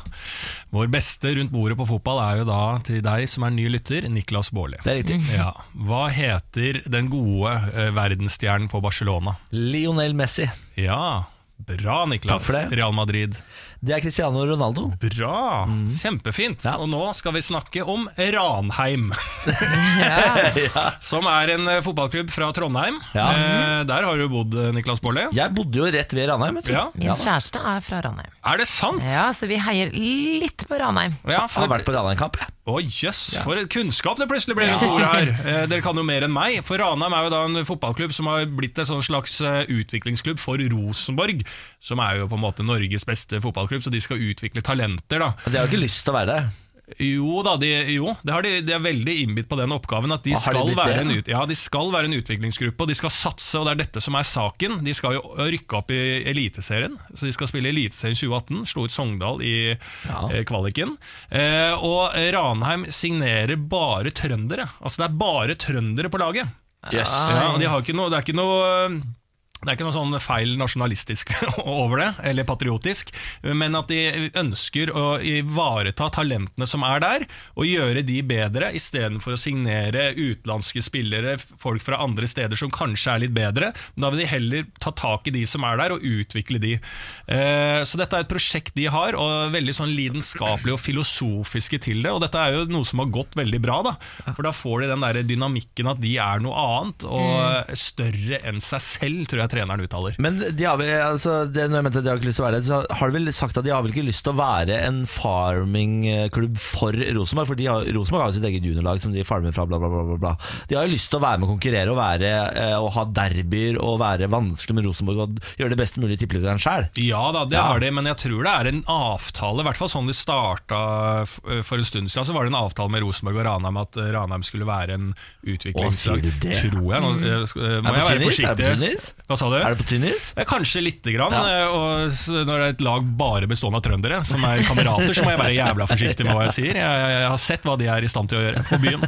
Speaker 3: Vår beste rundt bordet på fotball er jo da til deg som er ny lytter, Niklas Baarli.
Speaker 2: Det er riktig.
Speaker 3: Ja. Hva heter den gode eh, verdensstjernen på Barcelona?
Speaker 2: Lionel Messi.
Speaker 3: Ja, bra Niklas.
Speaker 2: Takk for det.
Speaker 3: Real Madrid.
Speaker 2: Det er Cristiano Ronaldo.
Speaker 3: Bra!
Speaker 2: Mm.
Speaker 3: Kjempefint. Og nå skal vi snakke om
Speaker 2: *laughs*
Speaker 3: Ranheim. Som er en eh, fotballklubb fra Trondheim.
Speaker 2: Ja.
Speaker 3: Eh, der har du bodd, eh, Niklas Baarli.
Speaker 2: Jeg bodde jo rett ved Ranheim. vet du
Speaker 3: Ja.
Speaker 4: Min kjæreste er fra Ranheim.
Speaker 3: Er det sant?
Speaker 4: Ja, så vi heier litt på Ranheim.
Speaker 3: Ja,
Speaker 2: Jeg har
Speaker 3: for
Speaker 2: vært på Ranheim-kamp. jeg.
Speaker 3: Å jøss, for et kunnskap det plutselig ble rundt bordet her! Eh, dere kan jo mer enn meg. For Ranheim er jo da en fotballklubb som har blitt en sånn slags eh, utviklingsklubb for Rosenborg. Som er jo på en måte Norges beste fotballklubb, så de skal utvikle talenter, da.
Speaker 2: Men De har jo ikke lyst til å være der.
Speaker 3: Jo da, de, jo, det har de, de er veldig innbitt på den oppgaven. At de,
Speaker 2: Ah, har de
Speaker 3: skal
Speaker 2: blitt det,
Speaker 3: være en,
Speaker 2: ja?
Speaker 3: ut, ja, de skal være en utviklingsgruppe, og de skal satse. Og det er dette som er saken. De skal jo rykke opp i Eliteserien. Så de skal spille Eliteserien 2018. Slo ut Sogndal i eh, kvaliken. Eh, og Ranheim signerer bare trøndere. Altså det er bare trøndere på laget. Ja, og de har ikke noe, det er ikke noe det er ikke noe sånn feil nasjonalistisk *laughs* over det, eller patriotisk, men at de ønsker å ivareta talentene som er der, og gjøre de bedre, istedenfor å signere utenlandske spillere, folk fra andre steder som kanskje er litt bedre. Men da vil de heller ta tak i de som er der, og utvikle de. Eh, Så dette er et prosjekt de har, og veldig sånn lidenskapelige og filosofiske til det. Og dette er jo noe som har gått veldig bra, da. For da får de den der dynamikken at de er noe annet, og
Speaker 2: Mm.
Speaker 3: større enn seg selv, tror jeg treneren uttaler.
Speaker 2: Men de har vel, altså, det, når jeg mente at de har ikke lyst til å være der, så har de vel sagt at de har vel ikke lyst til å være en farmingklubb for Rosenborg. For de har, Rosenborg har jo sitt eget juniorlag som de farmer fra, bla, bla, bla. bla, bla. De har jo lyst til å være med og konkurrere og, være, eh, og ha derbyer og være vanskelig med Rosenborg og gjøre det best mulig i tippeligaen sjøl.
Speaker 3: Ja da, det har de, men jeg tror det er en avtale. I hvert fall sånn det starta f- eh, for en stund siden. Så var det en avtale med Rosenborg og Ranheim at eh, Ranheim skulle være en
Speaker 2: sier
Speaker 3: utviklingslag.
Speaker 2: du det?
Speaker 3: Tror jeg. Nå eh, sk- eh,
Speaker 2: Er
Speaker 3: må
Speaker 2: det
Speaker 3: jeg
Speaker 2: på
Speaker 3: være
Speaker 2: tynnis? Er det på
Speaker 3: forsiktig.
Speaker 2: tynnis?
Speaker 3: Hva sa du?
Speaker 2: Er det på tynnis?
Speaker 3: Eh, Kanskje lite grann.
Speaker 2: Ja.
Speaker 3: eh, Og s- når det er et lag bare bestående av trøndere, som er kamerater, så må jeg være jævla forsiktig med hva jeg sier. Jeg, jeg, jeg har sett hva de er i stand til å gjøre på byen.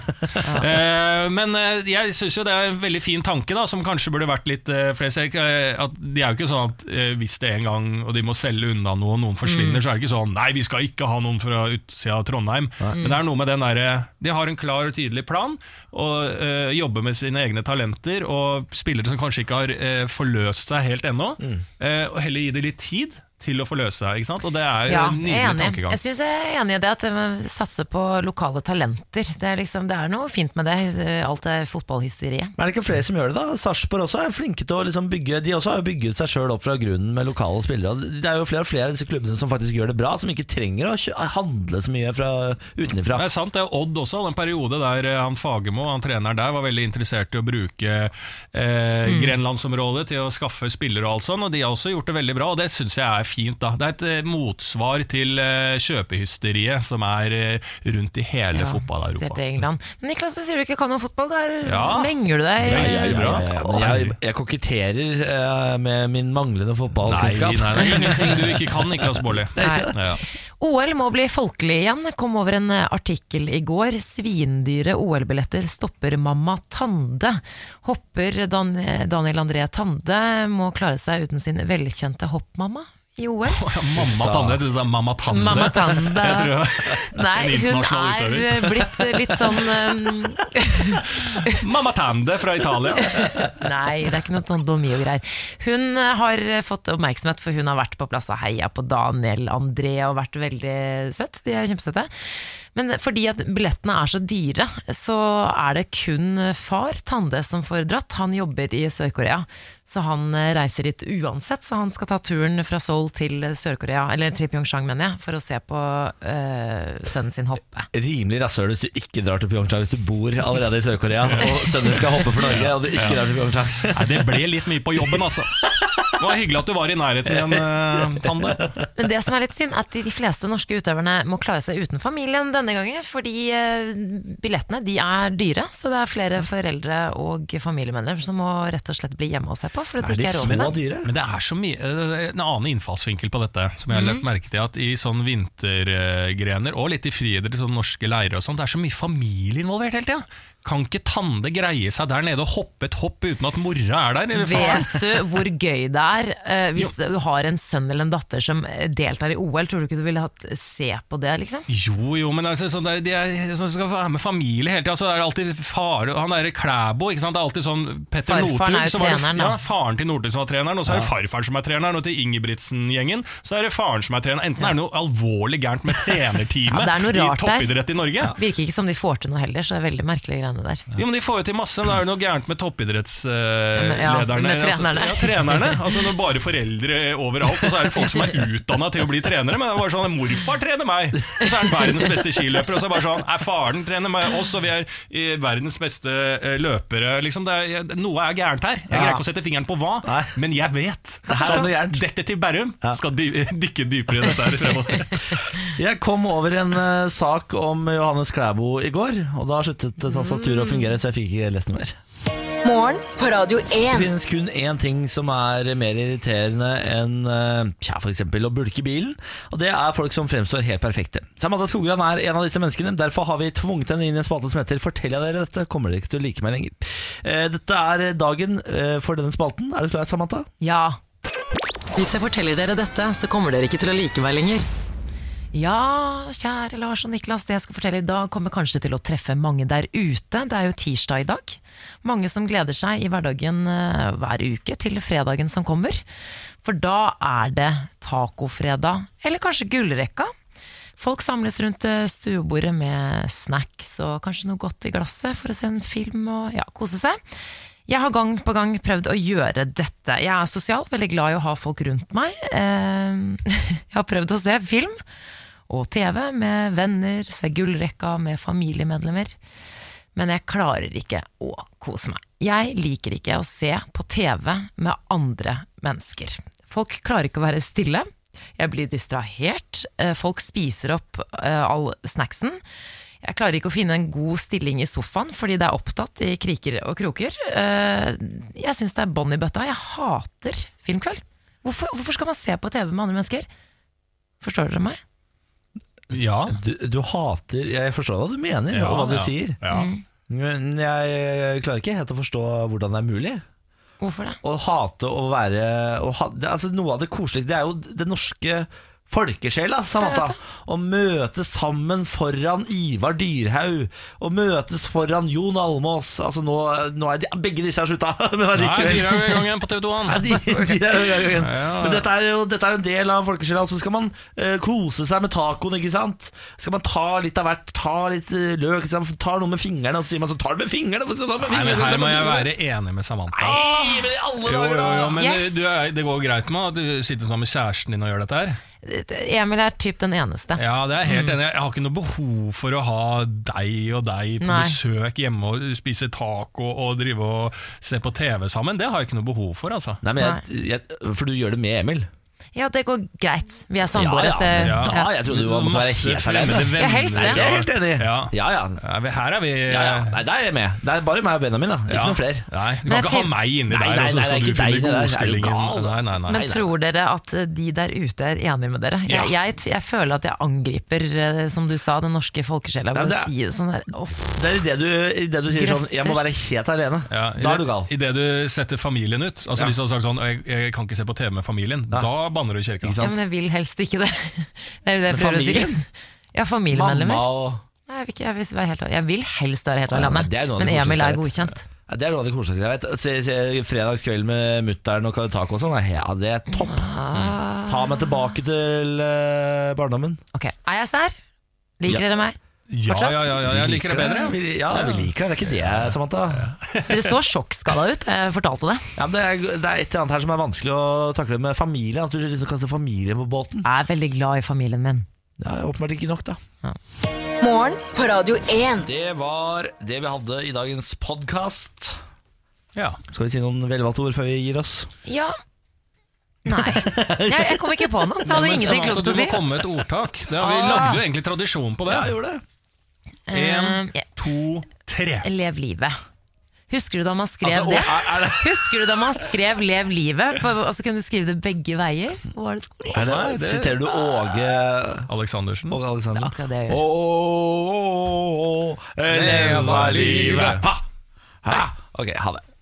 Speaker 3: Eh, Men eh, jeg syns jo det er en veldig fin tanke, da, som kanskje burde vært litt eh, flest. Jeg- eh, At de er jo ikke sånn at eh, hvis det en gang og de må selge unna noe, noen forsvinner, så er det ikke sånn Nei, vi skal ikke ha noen fra utsida av Trondheim. Men det er noe med den eh, derre De har en klar og tydelig plan, og eh, jobber med sine egne talenter og spillere som kanskje ikke har eh, forløst seg helt ennå. eh, og heller gi dem litt tid til å forløse seg, ikke sant. Og det er jo
Speaker 4: Ja,
Speaker 3: en nydelig
Speaker 4: jeg er enig. Jeg
Speaker 3: tankegang.
Speaker 4: synes jeg er enig i det at man satser på lokale talenter. Det er, liksom, det er noe fint med det, alt det fotballhysteriet.
Speaker 2: Men er det ikke flere som gjør det, da? Sarpsborg også er flinke til å liksom bygge De også har jo bygget seg sjøl opp fra grunnen med lokale spillere. Og Det er jo flere og flere av disse klubbene som faktisk gjør det bra, som ikke trenger å kjø- handle så mye fra utenfra.
Speaker 3: Det er sant, det er Odd også. Den periode der eh, han Fagermo, han treneren der, var veldig interessert i å bruke eh,
Speaker 4: Mm.
Speaker 3: Grenlandsområdet til å skaffe spillere og alt sånn, og de har også gjort det veldig bra, og det syns jeg er fint. da. Det er et eh, motsvar til eh, kjøpehysteriet som er eh, rundt i hele
Speaker 4: spesielt i
Speaker 3: fotball-Europa.
Speaker 4: England. Men Niklas, du sier du ikke kan noe fotball. Der
Speaker 3: Ja.
Speaker 4: menger du deg.
Speaker 3: Nei, jeg er jo
Speaker 2: Jeg,
Speaker 3: bra.
Speaker 2: jeg, Eh, jeg, jeg koketterer eh, med min manglende
Speaker 3: Nei, nei,
Speaker 2: fotballkunnskap.
Speaker 3: det er *laughs* ingenting du ikke kan, Niklas Baarli.
Speaker 4: ikke
Speaker 3: Ja.
Speaker 4: OL må bli folkelig igjen. Kom over en eh, artikkel i går. Svindyre OL-billetter stopper mamma Tande. Hopper Dan eh, Daniel André Tande må klare seg uten sin velkjente hoppmamma i OL.
Speaker 3: Ja, Mamma Tande, du sa Mamma Tande.
Speaker 4: Mamma Tande.
Speaker 3: Jeg tror En
Speaker 4: Nei, hun
Speaker 3: internasjonal
Speaker 4: er
Speaker 3: utøver.
Speaker 4: eh, blitt eh, litt sånn
Speaker 3: *laughs*
Speaker 4: um,
Speaker 3: Mamma Tande fra Italia.
Speaker 4: Nei, det er ikke noe sånn domi og greier. Hun eh, har eh, fått oppmerksomhet, for hun har vært på plass og heia på Daniel André og vært veldig søtt. De er kjempesøte. Men fordi at billettene er så dyre, så er det kun far, Tande, som får dratt. Han jobber i Sør-Korea, så han eh, reiser dit uansett. Så han skal ta turen fra Seoul til Sør-Korea, eller til Pyeongchang, mener jeg, for å se på eh, sønnen sin hoppe.
Speaker 2: Rimelig rasshøl hvis du ikke drar til Pyeongchang hvis du bor allerede i
Speaker 3: *laughs*
Speaker 2: Sør-Korea og sønnen din skal hoppe for Norge og du ikke drar til Pyeongchang.
Speaker 3: Nei, det ble litt mye på jobben, altså. Det var hyggelig at du var i nærheten igjen, eh, Tande.
Speaker 4: Men det som er litt synd, er at de fleste norske utøverne må klare seg uten familien denne gangen, fordi eh, billettene de er dyre, så det er flere foreldre og familiemedlemmer som må rett og slett bli hjemme og se på, for at det ikke er råd til det.
Speaker 2: dyre?
Speaker 3: Men det er så mye eh, En annen innfallsvinkel på dette som jeg har lagt merke til, at i sånn vintergrener og litt i friidrett, sånn norske leirer og sånn, det er så mye familie involvert hele tida. Kan ikke Tande greie seg der nede og hoppe et hopp uten at mora er der? Eller faren?
Speaker 4: Vet du hvor gøy det er eh, hvis du har en sønn eller en datter som eh, deltar i OL? Tror du ikke du ville hatt se på det, liksom?
Speaker 3: Jo, jo, men altså, sånn der, de er, sånn skal være med familie hele tida, så er det alltid far Han derre Klæbo, ikke sant. Det er alltid sånn Petter
Speaker 4: Farfaren
Speaker 3: Northug
Speaker 4: er jo
Speaker 3: som var det-
Speaker 4: treneren, da.
Speaker 3: Ja, faren til Northug som var treneren, og så er det farfaren som er treneren, og til Ingebrigtsen-gjengen så er det faren som er treneren. Enten er det noe alvorlig gærent med
Speaker 4: *laughs* Ja,
Speaker 3: trenerteamet
Speaker 4: det er noe
Speaker 3: i
Speaker 4: rart der.
Speaker 3: toppidrett i Norge.
Speaker 4: Virker ikke som de får til noe heller, så det er veldig merkelige greiene der.
Speaker 3: Jo, men De får jo til masse, men det er jo noe gærent med toppidrettslederne.
Speaker 4: Ja, med trenerne.
Speaker 3: Altså, ja, trenerne. Altså, det er bare foreldre overalt, og så er det folk som er utdanna til å bli trenere. Men det er bare sånn, morfar trener meg, og så er han verdens beste skiløper. Og så er det bare sånn, er faren trener meg oss, og vi er eh, verdens beste eh, løpere. Liksom, det er, noe er gærent her. Jeg greier ikke å sette fingeren på hva,
Speaker 2: Nei.
Speaker 3: men jeg vet.
Speaker 2: her er
Speaker 3: Så
Speaker 2: noe gærent.
Speaker 3: dette til Bærum skal dy dykke dypere i dette her
Speaker 2: *laughs*
Speaker 3: fremover.
Speaker 2: Jeg kom over en eh, sak om Johannes Klæbo i går, og da sluttet eh, tastaturet å fungere, så jeg fikk ikke lest noe mer.
Speaker 5: Morgen på Radio
Speaker 2: Det
Speaker 5: 1.
Speaker 2: finnes kun én ting som er mer irriterende enn eh, tja, for eksempel å bulke i bilen, og det er folk som fremstår helt perfekte. Samantha Skogran er en av disse menneskene, derfor har vi tvunget henne inn i en spalte som heter 'Forteller jeg dere dette, kommer dere ikke til å like meg lenger'. Eh, Dette er dagen eh, for denne spalten. Er du klar, Samantha?
Speaker 4: Ja,
Speaker 5: Hvis jeg forteller dere dette, så kommer dere ikke til å like meg lenger.
Speaker 4: Ja, kjære Lars og Niklas, det jeg skal fortelle i dag kommer kanskje til å treffe mange der ute. Det er jo tirsdag i dag. Mange som gleder seg i hverdagen eh, hver uke til fredagen som kommer. For da er det tacofredag, eller kanskje gullrekka. Folk samles rundt eh, stuebordet med snacks og kanskje noe godt i glasset for å se en film og ja, kose seg. Jeg har gang på gang prøvd å gjøre dette. Jeg er sosial, veldig glad i å ha folk rundt meg. Eh, *laughs* Jeg har prøvd å se film og TV med venner, se gullrekka med familiemedlemmer. Men jeg klarer ikke å kose meg. Jeg liker ikke å se på TV med andre mennesker. Folk klarer ikke å være stille. Jeg blir distrahert. Eh, Folk spiser opp eh, all snacksen. Jeg klarer ikke å finne en god stilling i sofaen fordi det er opptatt i kriker og kroker. Eh, Jeg syns det er bånn i bøtta. Jeg hater filmkveld. Hvorfor, hvorfor skal man se på TV med andre mennesker? Forstår dere meg?
Speaker 3: Ja,
Speaker 2: Du, du hater Jeg forstår hva du mener, og hva du
Speaker 3: ja.
Speaker 2: sier,
Speaker 3: ja.
Speaker 2: men jeg klarer ikke helt å forstå hvordan det er mulig.
Speaker 4: Hvorfor det?
Speaker 2: Å hate å være å ha, det, altså Noe av det koseligste Det er jo det norske folkesjela, Samantha. Å møtes sammen foran Ivar Dyrhaug. Å møtes foran Jon Almås. Altså nå, nå er de, begge disse har *laughs* slutta, men
Speaker 3: Nei,
Speaker 2: allikevel.
Speaker 3: sier jeg jo i gang igjen på TV 2.
Speaker 2: Nei, de,
Speaker 3: *laughs*
Speaker 2: de er jo i gang igjen. Men dette er, jo, dette er jo en del av folkesjela, og så skal man eh, kose seg med tacoen. ikke sant? Skal man ta litt av hvert, ta litt eh, løk, ikke sant? tar noe med fingrene, og så sier man så tar du med fingrene! hvorfor skal du ta med
Speaker 3: Nei, men
Speaker 2: fingrene?
Speaker 3: her må jeg være enig med Samantha.
Speaker 2: Nei, men i alle
Speaker 3: Jo,
Speaker 2: dager,
Speaker 3: jo,
Speaker 2: da!
Speaker 3: jo, men
Speaker 4: Yes!
Speaker 3: du er, det går greit med at du sitter sammen med kjæresten din og gjør dette her.
Speaker 4: Emil er typ den eneste.
Speaker 3: Ja, det er jeg
Speaker 2: Mm.
Speaker 3: helt enig. i. Jeg har ikke noe behov for å ha deg og deg på
Speaker 4: Nei.
Speaker 3: besøk hjemme og spise taco og drive og se på TV sammen. Det har jeg ikke noe behov for, altså.
Speaker 2: Nei, men jeg, jeg, For du gjør det med Emil?
Speaker 4: Ja, det går greit. Vi er samboere, så
Speaker 2: men
Speaker 3: ja.
Speaker 2: da, jeg trodde du var- måtte være
Speaker 3: Masse
Speaker 2: helt
Speaker 3: fremmede
Speaker 2: alene.
Speaker 3: venner.
Speaker 4: Ja, helst det.
Speaker 2: Nei, det er jeg helt enig i.
Speaker 3: Ja.
Speaker 2: Ja, ja.
Speaker 3: Ja, vi- Her er vi
Speaker 2: ja, ja. Nei, der er jeg med. Det er bare meg og Benjamin, da. Ikke
Speaker 3: Ja.
Speaker 2: noen flere.
Speaker 3: Nei, Du
Speaker 4: Men
Speaker 3: kan
Speaker 4: jeg
Speaker 3: ikke ha
Speaker 4: tenk-
Speaker 3: meg inni
Speaker 2: Nei,
Speaker 3: der,
Speaker 2: nei,
Speaker 3: og så
Speaker 2: nei,
Speaker 3: skal
Speaker 2: det er
Speaker 3: du
Speaker 2: ikke
Speaker 3: finne
Speaker 2: deg inni der, er du gal,
Speaker 3: godstillingen.
Speaker 2: da?
Speaker 3: Nei, nei, nei.
Speaker 4: Men tror dere at de der ute er enige med dere?
Speaker 3: Ja.
Speaker 4: Jeg, jeg, jeg føler at jeg angriper, eh, som du sa, den norske folkesjela ved
Speaker 2: Ja, det er-
Speaker 4: å si det sånn der. Uff.
Speaker 2: Det er i det du, i det du sier sånn
Speaker 4: Grøsser.
Speaker 2: 'jeg må være helt alene'.
Speaker 3: Ja, i
Speaker 2: Da er
Speaker 3: det-
Speaker 2: du gal.
Speaker 3: I det du setter familien ut. Altså Hvis du hadde sagt sånn jeg, 'Jeg kan ikke se på TV med familien', da banner du i kirka.
Speaker 4: Ja, men jeg vil helst ikke det. *laughs* Det er jo det jeg
Speaker 2: Men
Speaker 4: prøver å si.
Speaker 2: familien?
Speaker 4: *laughs* Ja,
Speaker 2: Mamma
Speaker 4: familiemedlemmer.
Speaker 2: og
Speaker 4: Nei, jeg vil, ikke, jeg, vil være helt, alene. jeg vil helst være helt
Speaker 2: Ja,
Speaker 4: alene,
Speaker 2: men det er noe av
Speaker 4: men
Speaker 2: det
Speaker 4: Emil
Speaker 2: koseligste
Speaker 4: er
Speaker 2: jeg vet.
Speaker 4: godkjent.
Speaker 2: ja, Det er noe av det koseligste jeg vet. Se, se, fredagskveld med mutter'n og taco og sånn, ja, det er topp. Mm. Ta meg tilbake til eh, barndommen.
Speaker 4: Ah, Ok, Er jeg sær?
Speaker 2: Ja.
Speaker 4: Liker dere meg?
Speaker 3: Ja,
Speaker 4: Fortsatt?
Speaker 3: ja, ja, ja, jeg liker det bedre.
Speaker 2: Vi, ja, vi liker det. Det er ikke det, Samantha.
Speaker 4: Dere
Speaker 2: *laughs*
Speaker 4: så sjokkskada ut da jeg fortalte det.
Speaker 2: Ja, men det, er, det er et eller annet her som er vanskelig å takle med familien. At du liksom kaster familien på båten.
Speaker 4: Jeg er veldig glad i familien min.
Speaker 2: Ja, Åpenbart ikke nok, da.
Speaker 5: Morgen på Radio 1.
Speaker 2: Det var det vi hadde i dagens podkast.
Speaker 3: Ja.
Speaker 2: Skal vi si noen velvalgte ord før vi gir oss?
Speaker 4: Ja. Nei. Jeg, jeg kom ikke på noe. Jeg hadde
Speaker 3: Men
Speaker 4: ingenting
Speaker 3: Samantha,
Speaker 4: klokt å
Speaker 3: Du
Speaker 4: si.
Speaker 3: må komme med et ordtak. Det har vi
Speaker 4: Ah.
Speaker 3: lagde jo egentlig tradisjon på det.
Speaker 2: gjorde det.
Speaker 3: En,
Speaker 4: Eh,
Speaker 3: to, tre.
Speaker 4: Lev livet. Husker du da man skrev
Speaker 2: Altså, å,
Speaker 4: det?
Speaker 2: er- er det-
Speaker 4: Husker du da man skrev 'Lev livet', på, og så kunne du skrive det begge veier? Var det skole?
Speaker 2: Er det,
Speaker 3: Nei, det-
Speaker 2: Siterer du Åge
Speaker 3: Aleksandersen.
Speaker 2: Åge Aleksandersen?
Speaker 4: Akkurat det jeg
Speaker 2: Å,
Speaker 4: gjør.
Speaker 2: å, å, å, leva livet! Ha! Ok, ha det.